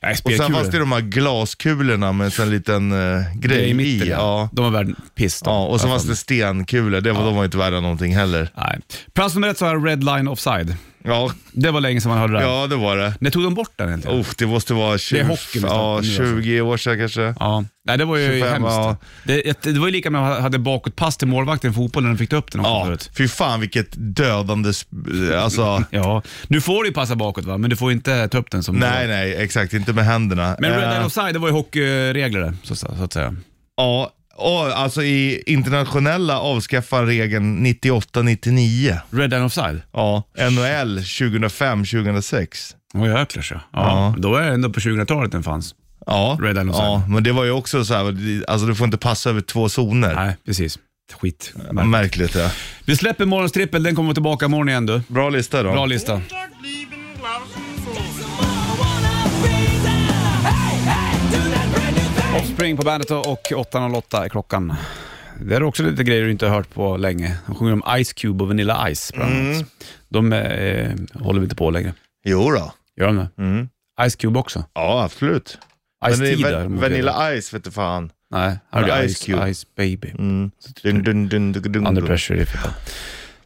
[SPEAKER 2] Nej,
[SPEAKER 3] och sen
[SPEAKER 2] spekkulor.
[SPEAKER 3] fanns det de här glaskulorna med en sån liten eh,
[SPEAKER 2] Det är
[SPEAKER 3] grej
[SPEAKER 2] i mitten,
[SPEAKER 3] i. Ja.
[SPEAKER 2] De var värd piss. de.
[SPEAKER 3] Ja, och så
[SPEAKER 2] Jag
[SPEAKER 3] fanns
[SPEAKER 2] fan.
[SPEAKER 3] det stenkulor. Det var, De var inte värda någonting heller.
[SPEAKER 2] Nej. Plats nummer ett så har jag Red Line Offside.
[SPEAKER 3] Ja,
[SPEAKER 2] Det var länge sedan man hörde det. här.
[SPEAKER 3] ja Oh. det var det.
[SPEAKER 2] När tog de bort den egentligen?
[SPEAKER 3] Uff, det måste vara 20,
[SPEAKER 2] är hockey vi snackar om
[SPEAKER 3] ja,
[SPEAKER 2] nu, alltså.
[SPEAKER 3] 20 år sedan kanske.
[SPEAKER 2] Ja, nej det var ju
[SPEAKER 3] 25,
[SPEAKER 2] hemskt.
[SPEAKER 3] ja.
[SPEAKER 2] Det, det var ju lika med att man hade bakåtpass till målvakten i fotboll när de fick upp den också
[SPEAKER 3] Ja,
[SPEAKER 2] förut.
[SPEAKER 3] fy fan vilket dödande... sp- Alltså,
[SPEAKER 2] Ja, nu får du ju passa bakåt va, men du får ju inte ta upp den som
[SPEAKER 3] nej, nej, exakt. Inte med händerna.
[SPEAKER 2] Men Red
[SPEAKER 3] Eh,
[SPEAKER 2] Line Offside, det var ju hockeyregler det, så, så så att säga.
[SPEAKER 3] Ja, och, alltså i internationella avskaffar regeln 98-99.
[SPEAKER 2] Red Line Offside?
[SPEAKER 3] Ja, NHL 2005-2006.
[SPEAKER 2] Åh jäklar så. Ja, ja. Då är det ändå på 2000-talet den fanns.
[SPEAKER 3] Ja,
[SPEAKER 2] Red Line offside.
[SPEAKER 3] ja, men det var ju också så här, alltså du får inte passa över två zoner.
[SPEAKER 2] Nej, precis. Skit.
[SPEAKER 3] Märkligt ja.
[SPEAKER 2] Vi släpper morgons trippel, den kommer tillbaka imorgon igen du.
[SPEAKER 3] Bra lista då.
[SPEAKER 2] Bra lista. Offspring på bandet och 8.08 är klockan. Det är också lite grejer du inte har hört på länge. De sjunger om Ice Cube och Vanilla Ice bland
[SPEAKER 3] Mm.
[SPEAKER 2] annat. De eh, håller vi inte på längre.
[SPEAKER 3] Jo då.
[SPEAKER 2] Gör de det? Ice Cube också?
[SPEAKER 3] Ja, absolut.
[SPEAKER 2] Ice
[SPEAKER 3] Mm. Men det är
[SPEAKER 2] Tea
[SPEAKER 3] va-
[SPEAKER 2] där.
[SPEAKER 3] Vanilla Ice vete fan.
[SPEAKER 2] Nej, här har vi
[SPEAKER 3] Ice
[SPEAKER 2] Ice
[SPEAKER 3] Cube.
[SPEAKER 2] Cube. Ice Baby.
[SPEAKER 3] Mm. Dun, dun, dun, dun, dun,
[SPEAKER 2] Under
[SPEAKER 3] dun.
[SPEAKER 2] pressure, det är fett.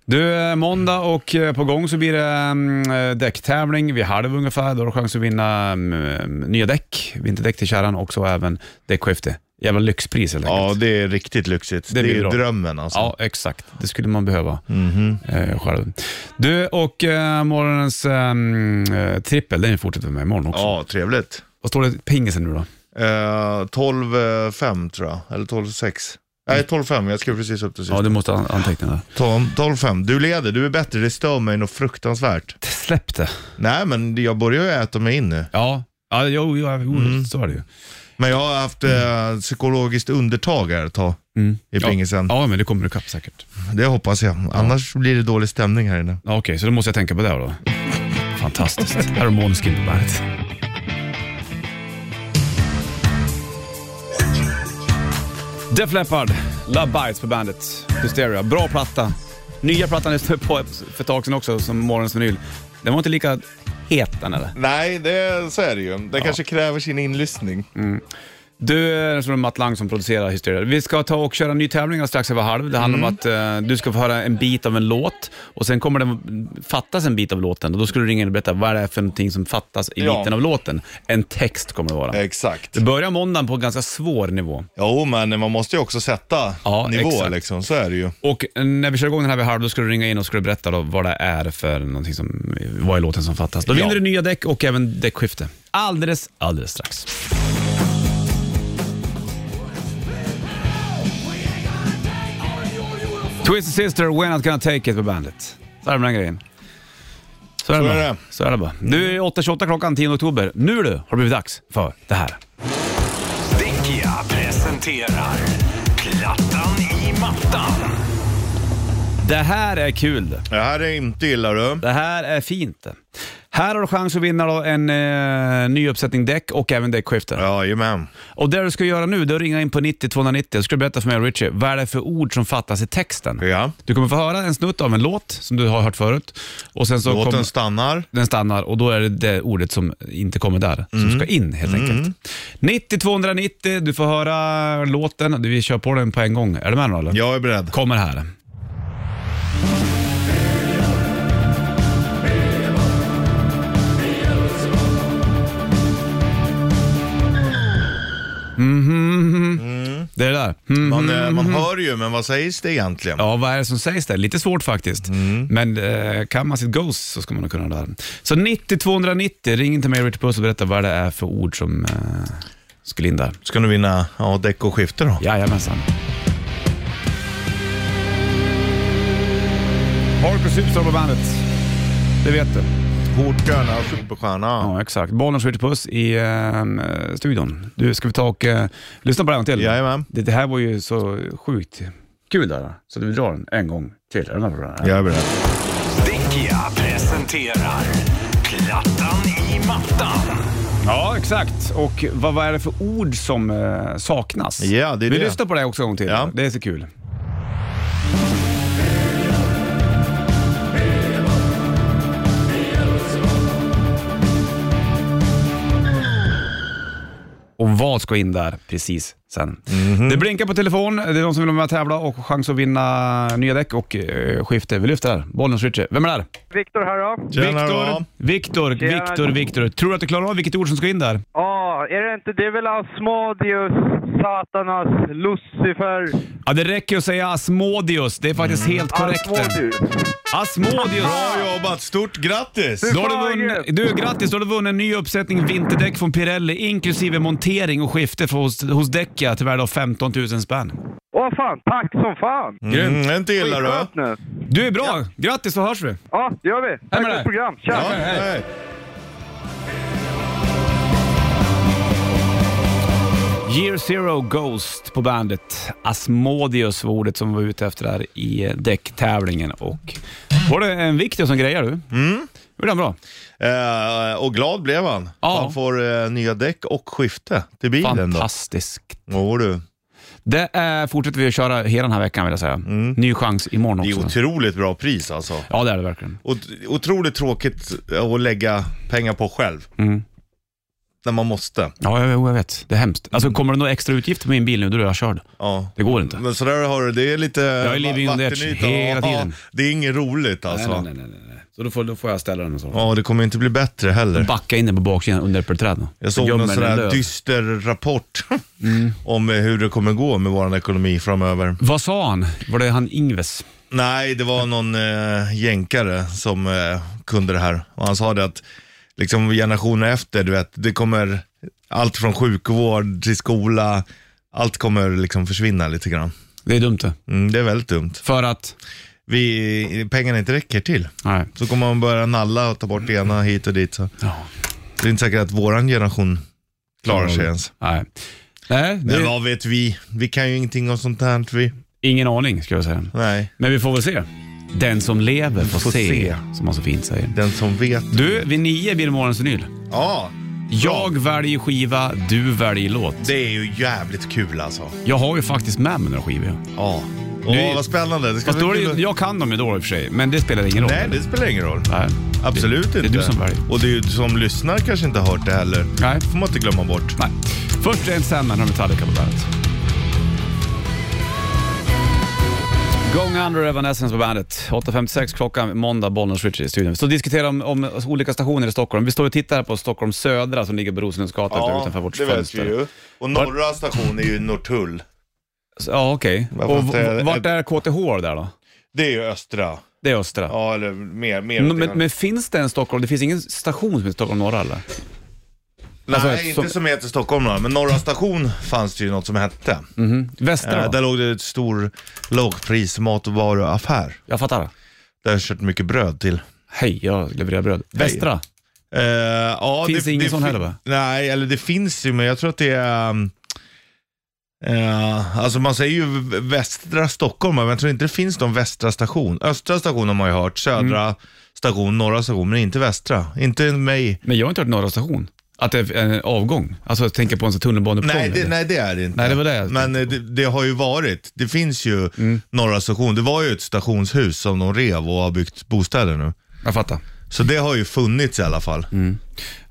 [SPEAKER 2] Du, eh, måndag och eh, på gång så blir det mm, eh, däcktävling vid halv ungefär. Då har du chans att vinna mm, nya däck, vinterdäck till kärran och så även däckskifte. Jävla lyxpris helt
[SPEAKER 3] Ja,
[SPEAKER 2] enkelt.
[SPEAKER 3] det är riktigt lyxigt.
[SPEAKER 2] Det
[SPEAKER 3] Det,
[SPEAKER 2] blir
[SPEAKER 3] är Mhm.
[SPEAKER 2] bra.
[SPEAKER 3] drömmen alltså.
[SPEAKER 2] Ja, exakt. Det skulle man behöva eh, själv. Du, och eh, morgonens mm, eh, trippel, den fortsätter med imorgon också.
[SPEAKER 3] Ja, trevligt.
[SPEAKER 2] Vad står det i pingisen nu då?
[SPEAKER 3] Eh, 12-5 tror jag, eller 12-6. Nej, 12-5. Jag skrev precis upp det sist.
[SPEAKER 2] Ja, du måste an- anteckna det.
[SPEAKER 3] 12-5. Du leder, du är bättre. Det stör mig något fruktansvärt.
[SPEAKER 2] Släpp det.
[SPEAKER 3] Nej, men jag börjar ju äta mig in nu.
[SPEAKER 2] Ja, ja jo, jo, jo så är det ju.
[SPEAKER 3] Men jag har haft eh, psykologiskt undertag här ett tag. I pingisen.
[SPEAKER 2] Mm. Ja, ja, men det kommer du ikapp säkert.
[SPEAKER 3] Det hoppas jag. Annars blir det dålig stämning här inne.
[SPEAKER 2] Ja, Okej, så då måste jag tänka på det då. Fantastiskt. Här har Måneskin på bandet. Def Leppard, Love Bites på bandet. Hysteria, bra platta. Nya plattan jag stötte på för ett tag sedan också, som morgonens vinyl. Den var inte lika het den eller?
[SPEAKER 3] Nej, det, så är det ju. Det kanske kräver sin inlyssning.
[SPEAKER 2] Du, jag tror det är Matt Lang som producerar Hysteria. Vi ska ta och köra en ny tävling alldeles strax över halv. Det handlar om att eh, du ska få höra en bit av en låt och sen kommer det fattas en bit av låten och då ska du ringa in och berätta vad det är för någonting som fattas i
[SPEAKER 3] Ja.
[SPEAKER 2] mitten av låten. En text kommer det vara.
[SPEAKER 3] Exakt.
[SPEAKER 2] Det börjar måndagen på en ganska svår nivå.
[SPEAKER 3] Jo, men man måste ju också sätta
[SPEAKER 2] Ja,
[SPEAKER 3] nivå
[SPEAKER 2] exakt.
[SPEAKER 3] liksom. Så är det ju.
[SPEAKER 2] Och när vi kör igång den här vid halv, då ska du ringa in och ska du berätta då vad det är för någonting som, vad är låten som fattas. Då
[SPEAKER 3] Ja.
[SPEAKER 2] vinner du nya däck och även däckskifte. Alldeles, alldeles strax. Twisted Sister, We're Not Gonna Take It på bandet. Så är det med den grejen. Så är det,
[SPEAKER 3] Så är
[SPEAKER 2] bara.
[SPEAKER 3] det.
[SPEAKER 2] Så är det bara. Nu är 8.28 klockan 10 oktober. Nu du, har det blivit dags för det här.
[SPEAKER 6] Dickia presenterar Plattan i mattan.
[SPEAKER 2] Det här är kul det.
[SPEAKER 3] Det här är inte illa du.
[SPEAKER 2] Det här är fint. Här har du chans att vinna då en eh, ny uppsättning däck och även däckskifte.
[SPEAKER 3] Jajamän.
[SPEAKER 2] Och det du ska göra nu, det är att ringa in på 90 290 och ska du berätta för mig och Richie vad det är för ord som fattas i texten.
[SPEAKER 3] Ja.
[SPEAKER 2] Du kommer få höra en snutt av en låt som du har hört förut och sen så
[SPEAKER 3] Låten
[SPEAKER 2] kommer
[SPEAKER 3] stannar.
[SPEAKER 2] den stannar och då är det det ordet som inte kommer där, som
[SPEAKER 3] Mm.
[SPEAKER 2] ska in helt enkelt. 90 290, du får höra låten, vi kör på den på en gång. Är du med nu eller?
[SPEAKER 3] Jag är beredd.
[SPEAKER 2] Kommer här. Mhm. Det är det där. Mm.
[SPEAKER 3] Man, eh, man hör ju, men vad sägs det egentligen?
[SPEAKER 2] Ja, vad är det som sägs där? Lite svårt faktiskt. Men eh, kan man sitt Ghost så ska man nog kunna det här. Så 90 290, ring inte mig Richard Puss och berätta vad det är för ord som eh, skulle in där.
[SPEAKER 3] Ska du vinna ja, däck och skifte då?
[SPEAKER 2] Jajamensan. Harkus Superstar på bandet. Det vet du.
[SPEAKER 3] Hårt stjärna, superstjärna.
[SPEAKER 2] Ja, exakt. Bollnäs Ritchie Puss i ehm, eh, studion. Du, ska vi ta och eh, lyssna på den till?
[SPEAKER 3] Jajamän.
[SPEAKER 2] Det, det här var ju så sjukt kul där. Så vi drar den en gång till. Är du med på den? här?
[SPEAKER 3] Jag är beredd.
[SPEAKER 6] Dickia presenterar Plattan i mattan.
[SPEAKER 2] Ja, exakt. Och vad, vad är det för ord som eh, saknas?
[SPEAKER 3] Ja, det är
[SPEAKER 2] vi
[SPEAKER 3] det.
[SPEAKER 2] lyssnar på det också en gång till.
[SPEAKER 3] Ja.
[SPEAKER 2] Det är så kul. Och vad ska in där precis sen?
[SPEAKER 3] Mhm.
[SPEAKER 2] Det blinkar på telefon. Det är de som vill vara med och tävla och har chans att vinna nya däck och eh, skifte. Vi lyfter här. Bollnäs Richie. Vem är där?
[SPEAKER 7] Viktor här då.
[SPEAKER 3] Tjena
[SPEAKER 2] Viktor,
[SPEAKER 3] då.
[SPEAKER 2] Viktor,
[SPEAKER 7] Tjena.
[SPEAKER 2] Viktor, Viktor. Tror du att du klarar av vilket ord som ska in där?
[SPEAKER 7] Ja, är det inte... Det är väl Asmodeus, Satanas, Lucifer...
[SPEAKER 2] Ja, det räcker att säga Asmodeus. Det är faktiskt helt korrekt.
[SPEAKER 7] Asmodeus.
[SPEAKER 2] Asmodeus!
[SPEAKER 3] Bra jobbat, stort grattis!
[SPEAKER 2] Då har
[SPEAKER 7] fan vad
[SPEAKER 2] du, vunnit, du, grattis, då har du vunnit en ny uppsättning vinterdäck från Pirelli inklusive montering och skifte för hos, hos Däckia till värde av 15 000 spänn.
[SPEAKER 7] Åh fan, tack som fan!
[SPEAKER 3] Mm, det är inte illa du.
[SPEAKER 7] Skitskönt nu.
[SPEAKER 2] Du är bra! Grattis, så hörs vi!
[SPEAKER 7] Ja, det gör vi. Tack
[SPEAKER 2] med dig.
[SPEAKER 7] för program. Tja!
[SPEAKER 3] Ja, hej.
[SPEAKER 2] Year Zero Ghost på bandet. Asmodeus var ordet som var ute efter där i eh, däcktävlingen. Och var det en viktig som grejer du? Mm. Gjorde han bra?
[SPEAKER 3] Eh, och glad blev han.
[SPEAKER 2] Ja.
[SPEAKER 3] Han får eh, nya däck och skifte till bilen. då.
[SPEAKER 2] Fantastiskt.
[SPEAKER 3] Jo, du.
[SPEAKER 2] Det eh, fortsätter vi att köra hela den här veckan vill jag säga. Ny chans imorgon
[SPEAKER 3] Mm. Det är
[SPEAKER 2] också.
[SPEAKER 3] otroligt bra pris alltså.
[SPEAKER 2] Ja, det är det verkligen.
[SPEAKER 3] Och, otroligt tråkigt att lägga pengar på själv.
[SPEAKER 2] Mm.
[SPEAKER 3] När man måste.
[SPEAKER 2] Ja, jag, jag vet. Det är hemskt. Alltså, kommer det några extra utgifter på min bil nu, då är jag körd.
[SPEAKER 3] Ja.
[SPEAKER 2] Det går inte.
[SPEAKER 3] Men sådär har du, det är lite jag
[SPEAKER 2] är living on the edge hela tiden.
[SPEAKER 3] det är inget roligt alltså.
[SPEAKER 2] Nej, nej, nej, nej, nej. Så då får, då får jag ställa den och så.
[SPEAKER 3] Ja, det kommer inte bli bättre heller.
[SPEAKER 2] Backa in den på baksidan under äppelträd.
[SPEAKER 3] Jag såg
[SPEAKER 2] Gömmer Mm.
[SPEAKER 3] någon
[SPEAKER 2] den
[SPEAKER 3] sån här
[SPEAKER 2] lös.
[SPEAKER 3] dyster rapport om eh, hur det kommer gå med vår ekonomi framöver.
[SPEAKER 2] Vad sa han? Var det han Ingves?
[SPEAKER 3] Nej, det var någon eh, jänkare som eh, kunde det här. Och han sa det att liksom, generationer efter, du vet, det kommer allt från sjukvård till skola, allt kommer liksom försvinna lite grann.
[SPEAKER 2] Det är dumt det.
[SPEAKER 3] Mm, det är väldigt dumt.
[SPEAKER 2] För att...
[SPEAKER 3] Vi, pengarna inte räcker till.
[SPEAKER 2] Nej.
[SPEAKER 3] Så kommer man börja nalla och ta bort det ena hit och dit. Så. Det är inte säkert att våran generation klarar sig ens.
[SPEAKER 2] Nej. Nej,
[SPEAKER 3] Men
[SPEAKER 2] det,
[SPEAKER 3] vad vet vi? Vi kan ju ingenting om sånt här. Vi.
[SPEAKER 2] ingen aning skulle jag säga.
[SPEAKER 3] Nej,
[SPEAKER 2] Men vi får väl se. Den som lever får,
[SPEAKER 3] Får
[SPEAKER 2] se,
[SPEAKER 3] se.
[SPEAKER 2] som man så fint säger.
[SPEAKER 3] den som vet.
[SPEAKER 2] Du, vid nio blir det morgonens vinyl.
[SPEAKER 3] Ja,
[SPEAKER 2] Jag väljer skiva, du väljer låt.
[SPEAKER 3] det är ju jävligt kul alltså.
[SPEAKER 2] Jag har ju faktiskt med mig några skivor.
[SPEAKER 3] Ja.
[SPEAKER 2] Nu-
[SPEAKER 3] Åh, vad spännande. Det ska
[SPEAKER 2] Fast
[SPEAKER 3] bli
[SPEAKER 2] då är det,
[SPEAKER 3] kul
[SPEAKER 2] ju-
[SPEAKER 3] att-
[SPEAKER 2] jag kan dem ju då i och för sig, men det spelar ingen roll.
[SPEAKER 3] Nej, det spelar ingen roll.
[SPEAKER 2] Nej.
[SPEAKER 3] Absolut
[SPEAKER 2] det,
[SPEAKER 3] inte.
[SPEAKER 2] Det är du som väljer.
[SPEAKER 3] Och det är ju som lyssnar kanske inte har hört det heller.
[SPEAKER 2] Nej.
[SPEAKER 3] får man inte glömma bort.
[SPEAKER 2] Nej. Först en Sandman har Metallica på bandet. Gång under Evanescence på bandet. 8.56 klockan måndag, Bollnäs Richard i studion. Vi står och diskuterar om, om olika stationer i Stockholm. Vi står och tittar här på Stockholm Södra som ligger på Rosenlundsgatan där utanför vårt fönster.
[SPEAKER 3] Och norra station är ju Norrtull.
[SPEAKER 2] Så- Ja, okej.
[SPEAKER 3] Varför
[SPEAKER 2] Och
[SPEAKER 3] inte-
[SPEAKER 2] v- vart är KTH där då?
[SPEAKER 3] Det är ju östra.
[SPEAKER 2] Det är Östra.
[SPEAKER 3] Ja, eller mer. mer
[SPEAKER 2] Men,
[SPEAKER 3] åt det
[SPEAKER 2] men,
[SPEAKER 3] hållet.
[SPEAKER 2] men finns det en Stockholm? Det finns ingen station som heter Stockholm Norra eller?
[SPEAKER 3] Nej,
[SPEAKER 2] alltså,
[SPEAKER 3] inte
[SPEAKER 2] som-
[SPEAKER 3] som heter Stockholm då, men Norra station fanns det ju något som hette.
[SPEAKER 2] Mhm. Västra?
[SPEAKER 3] Eh,
[SPEAKER 2] då?
[SPEAKER 3] där låg det ett stor lågpris mat och varuaffär.
[SPEAKER 2] Jag fattar.
[SPEAKER 3] Där jag köpt mycket bröd till.
[SPEAKER 2] Hej, jag levererar bröd. Västra?
[SPEAKER 3] Eh, ja,
[SPEAKER 2] Finns det ingen sån
[SPEAKER 3] fi-
[SPEAKER 2] heller, va?
[SPEAKER 3] Nej, eller det finns ju, men jag tror att det är... um, eh, alltså man säger ju v- västra Stockholm, men jag tror inte det finns någon västra station. Östra station har man ju hört, södra
[SPEAKER 2] Mm.
[SPEAKER 3] station, norra station, men inte västra. Inte mig.
[SPEAKER 2] Men jag har inte hört Norra station. Att det är en avgång. Alltså jag tänker på en sån tunnelbaneuppgång.
[SPEAKER 3] Nej det,
[SPEAKER 2] eller?
[SPEAKER 3] nej, det är det inte.
[SPEAKER 2] Nej, det var det jag Mm.
[SPEAKER 3] men eh, det, det har ju varit. Det finns ju norra station. Det var ju ett stationshus som de rev och har byggt bostäder nu.
[SPEAKER 2] Jag fattar.
[SPEAKER 3] Så det har ju funnits i alla fall.
[SPEAKER 2] Mm.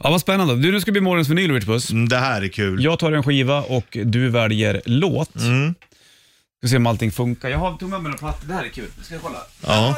[SPEAKER 2] Ja, vad spännande. Du, nu ska det bli morgonens vinyl, Rich Puss.
[SPEAKER 3] Mm, Det här är kul.
[SPEAKER 2] Jag tar en skiva och du väljer låt. Mm. Ska se om allting funkar. Jag har tog med mig några plattor. Det här är kul. Ska jag kolla?
[SPEAKER 3] Ja.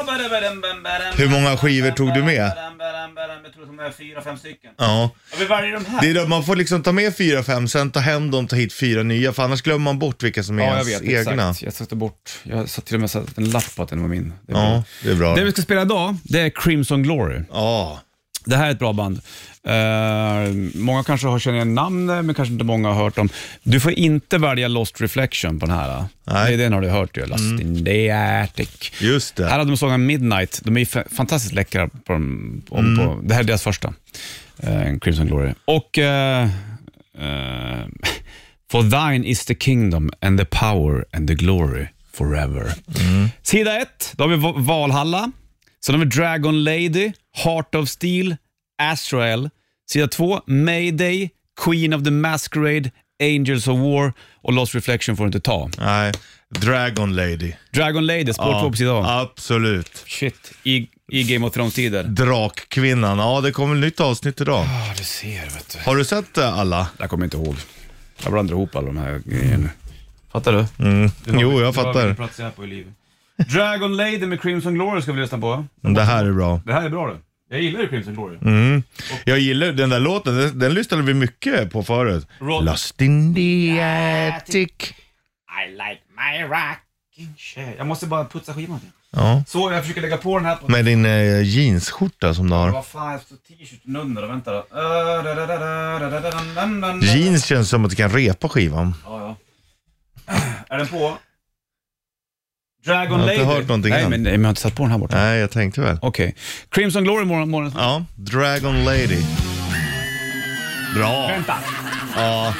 [SPEAKER 3] Hur många skivor tog du med?
[SPEAKER 2] Jag tror att de är fyra, fem stycken.
[SPEAKER 3] Ja.
[SPEAKER 2] Ja, vi väljer de här.
[SPEAKER 3] Det är det, man får liksom ta med fyra, fem, sen ta hem dem, ta hit fyra nya, för annars glömmer man bort vilka som är
[SPEAKER 2] Ja, jag
[SPEAKER 3] ens
[SPEAKER 2] vet.
[SPEAKER 3] egna.
[SPEAKER 2] Exakt. Jag satte bort... Jag satt till och med satt en lapp på att den var min. Det är bra.
[SPEAKER 3] Ja, det är bra.
[SPEAKER 2] Det vi ska spela idag, det är Crimson Glory.
[SPEAKER 3] Ja,
[SPEAKER 2] Det här är ett bra band. Eh, många kanske har känner igen namnet, men kanske inte många har hört dem. Du får inte välja Lost Reflection på den här.
[SPEAKER 3] Nej.
[SPEAKER 2] Det, den har du hört ju. Lost in the attic.
[SPEAKER 3] just
[SPEAKER 2] Här
[SPEAKER 3] det.
[SPEAKER 2] hade de sången Midnight. De är ju fa- fantastiskt läckra. På, dem- om, på, det här är deras första, eh, Crimson Glory. Och eh, eh, For thine is the kingdom and the power and the glory forever. Sida ett, då har vi Va- Valhalla. Sen har vi Dragon Lady, Heart of Steel, Azrael. Sida två, Mayday, Queen of the Masquerade, Angels of War och Lost Reflection får du inte ta.
[SPEAKER 3] Nej, Dragon Lady.
[SPEAKER 2] Dragon Lady, spår två på sida A.
[SPEAKER 3] absolut.
[SPEAKER 2] Shit, i, i Game of Thrones-tider.
[SPEAKER 3] Drakkvinnan, ja det kommer ett nytt avsnitt idag.
[SPEAKER 2] Ja, du ser vet du.
[SPEAKER 3] Har du sett det, alla?
[SPEAKER 2] Jag kommer inte ihåg. Jag blandar ihop alla de här grejerna. Fattar du?
[SPEAKER 3] Jo, jag fattar.
[SPEAKER 2] plats jag på i livet. Dragon Lady med Crimson Glory ska vi lyssna på.
[SPEAKER 3] Det här är bra. Mm.
[SPEAKER 2] Det här är bra du. Jag gillar ju Crimson Glory.
[SPEAKER 3] Jag gillar den där låten, den, den lyssnade vi mycket på förut.
[SPEAKER 2] Roll.
[SPEAKER 3] Lost in the attic.
[SPEAKER 2] I like my rocking chair. Jag måste bara putsa skivan.
[SPEAKER 3] Ja.
[SPEAKER 2] Så, jag försöker lägga på den här på...
[SPEAKER 3] Med din eh, jeansskjorta som du har.
[SPEAKER 2] Vad fan, jag står t-shirten under och vänta då. Ö, da, da, da, da, da, da, da, da, da, da.
[SPEAKER 3] Jeans känns som att du kan repa skivan.
[SPEAKER 2] Ja, ja. Är den på? Dragon
[SPEAKER 3] Jag har
[SPEAKER 2] Lady?
[SPEAKER 3] inte hört någonting
[SPEAKER 2] Nej,
[SPEAKER 3] än.
[SPEAKER 2] men, nej, men jag har inte satt på den här borta.
[SPEAKER 3] Nej, jag tänkte väl.
[SPEAKER 2] Okej. Crimson Glory morgon, morgon.
[SPEAKER 3] Ja, Dragon Lady. Bra.
[SPEAKER 2] Vänta.
[SPEAKER 3] Ja.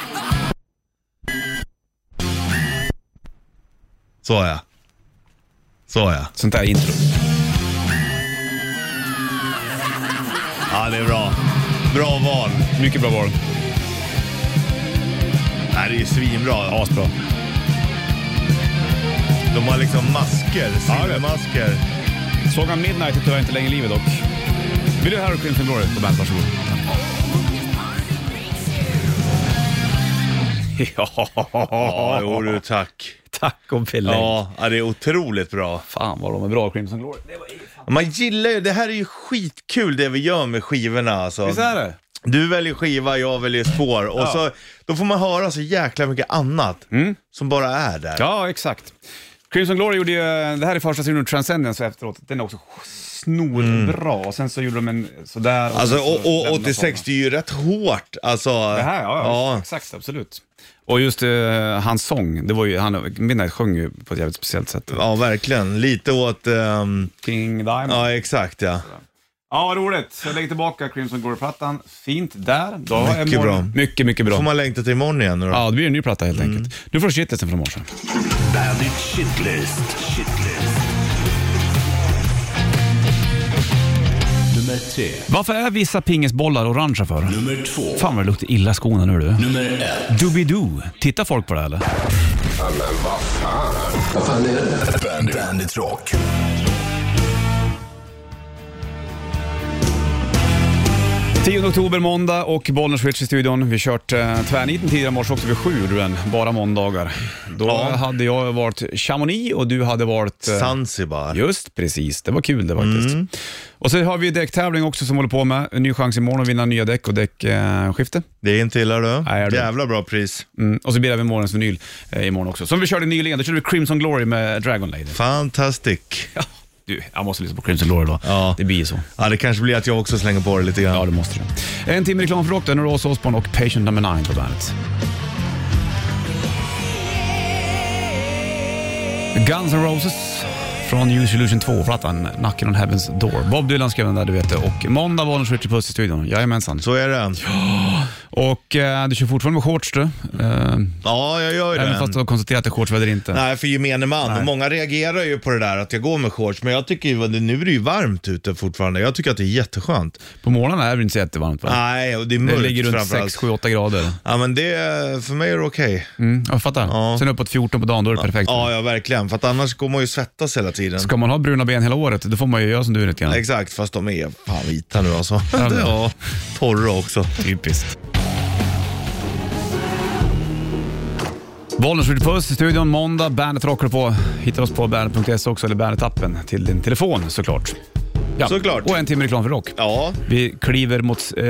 [SPEAKER 3] Så ja. Så ja.
[SPEAKER 2] Sånt där intro.
[SPEAKER 3] Ja, det är bra. Bra val.
[SPEAKER 2] Mycket bra val.
[SPEAKER 3] Det här är ju svinbra.
[SPEAKER 2] Asbra.
[SPEAKER 3] De har liksom masker, silvermasker.
[SPEAKER 2] Såg han Midnight är tyvärr inte längre i livet dock. Vill du höra Crimson Glory på bandet? Varsågod.
[SPEAKER 3] Ja,
[SPEAKER 2] Ja,
[SPEAKER 3] jo du tack.
[SPEAKER 2] tack och belägg.
[SPEAKER 3] Ja, ja, det är otroligt bra.
[SPEAKER 2] Fan vad de är bra, Crimson Glory.
[SPEAKER 3] Man gillar ju, det här är ju skitkul det vi gör med skivorna alltså.
[SPEAKER 2] Visst är det?
[SPEAKER 3] Du väljer skiva, jag väljer spår. Och så, då får man höra så jäkla mycket annat
[SPEAKER 2] Mm.
[SPEAKER 3] som bara är där.
[SPEAKER 2] Ja, exakt. Crimson Glory gjorde ju, det här är första singeln Transcendence och efteråt, den är också snorbra. Och Sen så gjorde de en sådär.
[SPEAKER 3] Mm. Alltså,
[SPEAKER 2] sen så
[SPEAKER 3] och, och
[SPEAKER 2] lämnade
[SPEAKER 3] 86 det
[SPEAKER 2] sådana.
[SPEAKER 3] är ju rätt hårt. Alltså,
[SPEAKER 2] det här, ja, ja, exakt, absolut. Och just eh, hans sång, det var ju, han Midnight sjöng ju på ett jävligt speciellt sätt.
[SPEAKER 3] ja, verkligen. Lite åt... ehm,
[SPEAKER 2] King Diamond.
[SPEAKER 3] ja, exakt ja.
[SPEAKER 2] Ja, vad roligt. Så jag lägger tillbaka Crimson Glory-plattan. Fint där. Då har jag
[SPEAKER 3] Mycket
[SPEAKER 2] imorgon-
[SPEAKER 3] bra.
[SPEAKER 2] Mycket, mycket bra.
[SPEAKER 3] Får man Mm. längta till imorgon igen nu då?
[SPEAKER 2] Ja, det blir en ny platta helt enkelt. Du får shitlisten från morse.
[SPEAKER 1] Bandit Shitlist. Shitlist. Nummer tre.
[SPEAKER 2] Varför är vissa pingisbollar orangea för?
[SPEAKER 1] Nummer två.
[SPEAKER 2] Fan vad det luktar illa i skorna nu du.
[SPEAKER 1] Nummer ett.
[SPEAKER 2] Doobidoo. Tittar folk på det här, eller?
[SPEAKER 1] Bandit, Bandit Rock.
[SPEAKER 2] Mm. 10 oktober måndag och Bollnäs Switch i studion. Vi har kört eh, tvärniten tidigare i morse också vid sju, gjorde den. Bara måndagar. Då
[SPEAKER 3] Ja.
[SPEAKER 2] hade jag varit Chamonix och du hade varit... eh,
[SPEAKER 3] Zanzibar.
[SPEAKER 2] Just precis, det var kul det faktiskt. Och så har vi däcktävling också som håller på med. En ny chans imorgon att vinna nya däck och däckskifte.
[SPEAKER 3] Det är inte illa du.
[SPEAKER 2] Nej, är det.
[SPEAKER 3] Jävla bra pris.
[SPEAKER 2] mm. Och så blir det även morgonens vinyl eh, imorgon också. Som vi körde nyligen, då körde vi Crimson Glory med Dragon Lady.
[SPEAKER 3] Fantastic.
[SPEAKER 2] Ja, du, jag måste lyssna på Crimson Glory då.
[SPEAKER 3] Ja.
[SPEAKER 2] Det blir ju så.
[SPEAKER 3] Ja, det kanske blir att jag också slänger på det lite grann.
[SPEAKER 2] Ja, det måste du. En timme reklam för rock, där har du Ozzy Osbourne och Patient Number 9 på bandet. Guns N' Roses från New Solution 2-plattan Knocking on Heaven's Door. Bob Dylan skrev den där, du vet det. Och måndag var den Richard Puss i studion. Jajamensan.
[SPEAKER 3] Så är det.
[SPEAKER 2] Och eh, du kör fortfarande med shorts du. Eh,
[SPEAKER 3] Ja, jag gör ju
[SPEAKER 2] även fast
[SPEAKER 3] det.
[SPEAKER 2] du har konstaterat att shortsväder inte.
[SPEAKER 3] Nej, för gemene man. Många reagerar ju på det där att jag går med shorts, men jag tycker ju att det- nu är det ju varmt ute fortfarande. Jag tycker att det är jätteskönt.
[SPEAKER 2] På morgnarna är det inte så jättevarmt va?
[SPEAKER 3] Nej, och det är
[SPEAKER 2] det
[SPEAKER 3] mörkt
[SPEAKER 2] ligger runt
[SPEAKER 3] framförallt.
[SPEAKER 2] 6, 7, 8 grader.
[SPEAKER 3] Ja, men det, för mig är det okej.
[SPEAKER 2] Mm, jag fattar. Sen uppåt 14 på dagen, då är det perfekt.
[SPEAKER 3] Ja, ja, verkligen. För att annars går man ju svettas hela tiden.
[SPEAKER 2] Ska man ha bruna ben hela året, då får man ju göra som du lite grann.
[SPEAKER 3] Exakt, fast de är fan vita nu alltså.
[SPEAKER 2] Ja, men-
[SPEAKER 3] Ja, torra också.
[SPEAKER 2] Typiskt. Bollnäs skjuter puss i studion måndag. Bandet rockar på. Hittar oss på bandet.se också, eller bandet-appen till din telefon såklart. Ja.
[SPEAKER 3] Såklart.
[SPEAKER 2] Och en timme reklam för rock.
[SPEAKER 3] Ja,
[SPEAKER 2] Vi kliver mot, eh, vi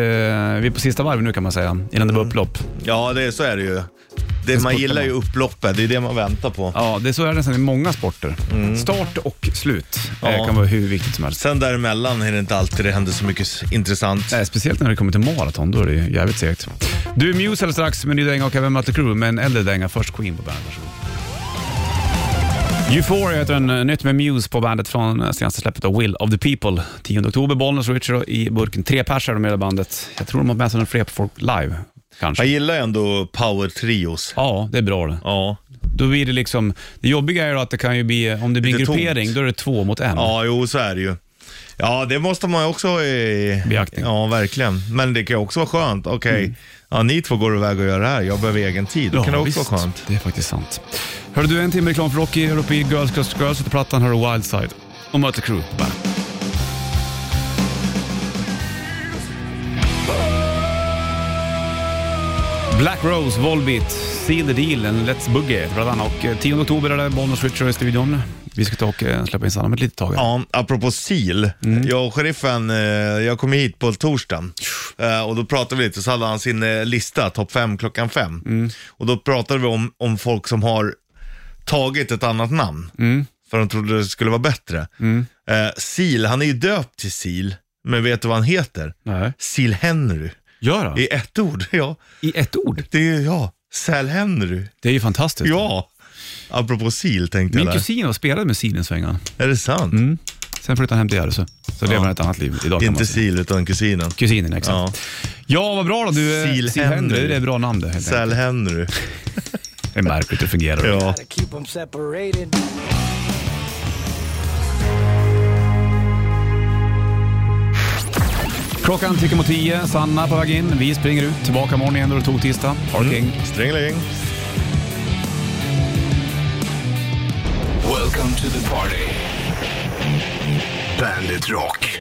[SPEAKER 2] är på sista varvet nu kan man säga, innan
[SPEAKER 3] Mm.
[SPEAKER 2] det var upplopp.
[SPEAKER 3] ja det, så är det ju. Det, man
[SPEAKER 2] spottar
[SPEAKER 3] gillar
[SPEAKER 2] man.
[SPEAKER 3] ju upploppet, det är det man väntar på.
[SPEAKER 2] Ja, det är så är det nästan i många sporter. Start och slut eh,
[SPEAKER 3] Mm. Ja.
[SPEAKER 2] kan vara hur viktigt som helst.
[SPEAKER 3] Sen däremellan är det inte alltid det händer så mycket s- intressant.
[SPEAKER 2] Nej, Eh, speciellt när det kommer till maraton, då är det ju jävligt segt. Du, Muse alldeles strax med ny dänga och även Mötley Crüe med en äldre dänga. Först Queen på bandet, varsågod. Euphoria heter en eh, nytt med Muse på bandet från eh, senaste släppet av Will of the People. 10 oktober, Bollnäs och Richard i burken. Tre pers är de i hela bandet. Jag tror de har med sig några fler på folk live, kanske.
[SPEAKER 3] Jag gillar ju ändå power-trios.
[SPEAKER 2] Ja, det är bra det.
[SPEAKER 3] Ja.
[SPEAKER 2] Då blir det liksom, det jobbiga är då att det kan ju bli, om det blir en
[SPEAKER 3] Lite tomt.
[SPEAKER 2] gruppering, då är det två mot en.
[SPEAKER 3] ja, jo så är det ju. Ja, det måste man ju också ha i
[SPEAKER 2] Beaktning. Mm.
[SPEAKER 3] Ja, verkligen. Men det kan ju också vara skönt. Okej, ja, ni två går iväg och gör det här. Jag behöver egen tid. Då kan det också
[SPEAKER 2] visst.
[SPEAKER 3] vara skönt.
[SPEAKER 2] Det är faktiskt sant. Hörde du, en timme reklam för Rocky, Europe Girls Girls Girls heter plattan, hör du Wildside och Mötley Crüe på bandet. Black Rose, Volbeat, Seal the Deal, en Let's Boogie heter plattan. Och eh, 10 oktober är det Bonus Richard i studion. Vi ska ta och eh, släppa in Sanna om ett litet tag.
[SPEAKER 3] Ja, apropå sil.
[SPEAKER 2] Mm.
[SPEAKER 3] Jag och sheriffen, eh, jag kom hit på torsdagen eh, och då pratade vi lite, så hade han sin eh, lista, topp fem klockan fem.
[SPEAKER 2] Mm.
[SPEAKER 3] Och då pratade vi om, om folk som har tagit ett annat namn,
[SPEAKER 2] Mm.
[SPEAKER 3] för de trodde det skulle vara bättre. Eh, Sil, han är ju döpt till Sil, men vet du vad han heter?
[SPEAKER 2] Nej.
[SPEAKER 3] Sil Henry,
[SPEAKER 2] Gör han?
[SPEAKER 3] i ett ord. Ja,
[SPEAKER 2] I ett ord?
[SPEAKER 3] det är ja, Sal Henry.
[SPEAKER 2] Det är ju fantastiskt.
[SPEAKER 3] Ja, apropå Sil tänkte
[SPEAKER 2] Min
[SPEAKER 3] jag där.
[SPEAKER 2] kusin Mm. var spelade med Seal en svänga.
[SPEAKER 3] Är det sant?
[SPEAKER 2] Sen flyttade han hem till Järvsö. Så lever han ett annat liv idag kan man
[SPEAKER 3] Inte
[SPEAKER 2] säga.
[SPEAKER 3] Sil utan kusinen.
[SPEAKER 2] Kusinen, exakt.
[SPEAKER 3] Ja.
[SPEAKER 2] Ja, vad bra då. Du, eh,
[SPEAKER 3] Seal
[SPEAKER 2] Seal Henry.
[SPEAKER 3] Henry.
[SPEAKER 2] Det är ett bra namn det. helt enkelt.
[SPEAKER 3] Sal Henry.
[SPEAKER 2] Det är märkligt hur det fungerar.
[SPEAKER 3] Ja.
[SPEAKER 2] Klockan tickar mot tio. Sanna på väg in. Vi springer ut. Tillbaka imorgon igen då det tog tisdag. Ha
[SPEAKER 3] Mm.
[SPEAKER 2] det king.
[SPEAKER 3] Stringeling.
[SPEAKER 1] Welcome to the party. Bandit Rock.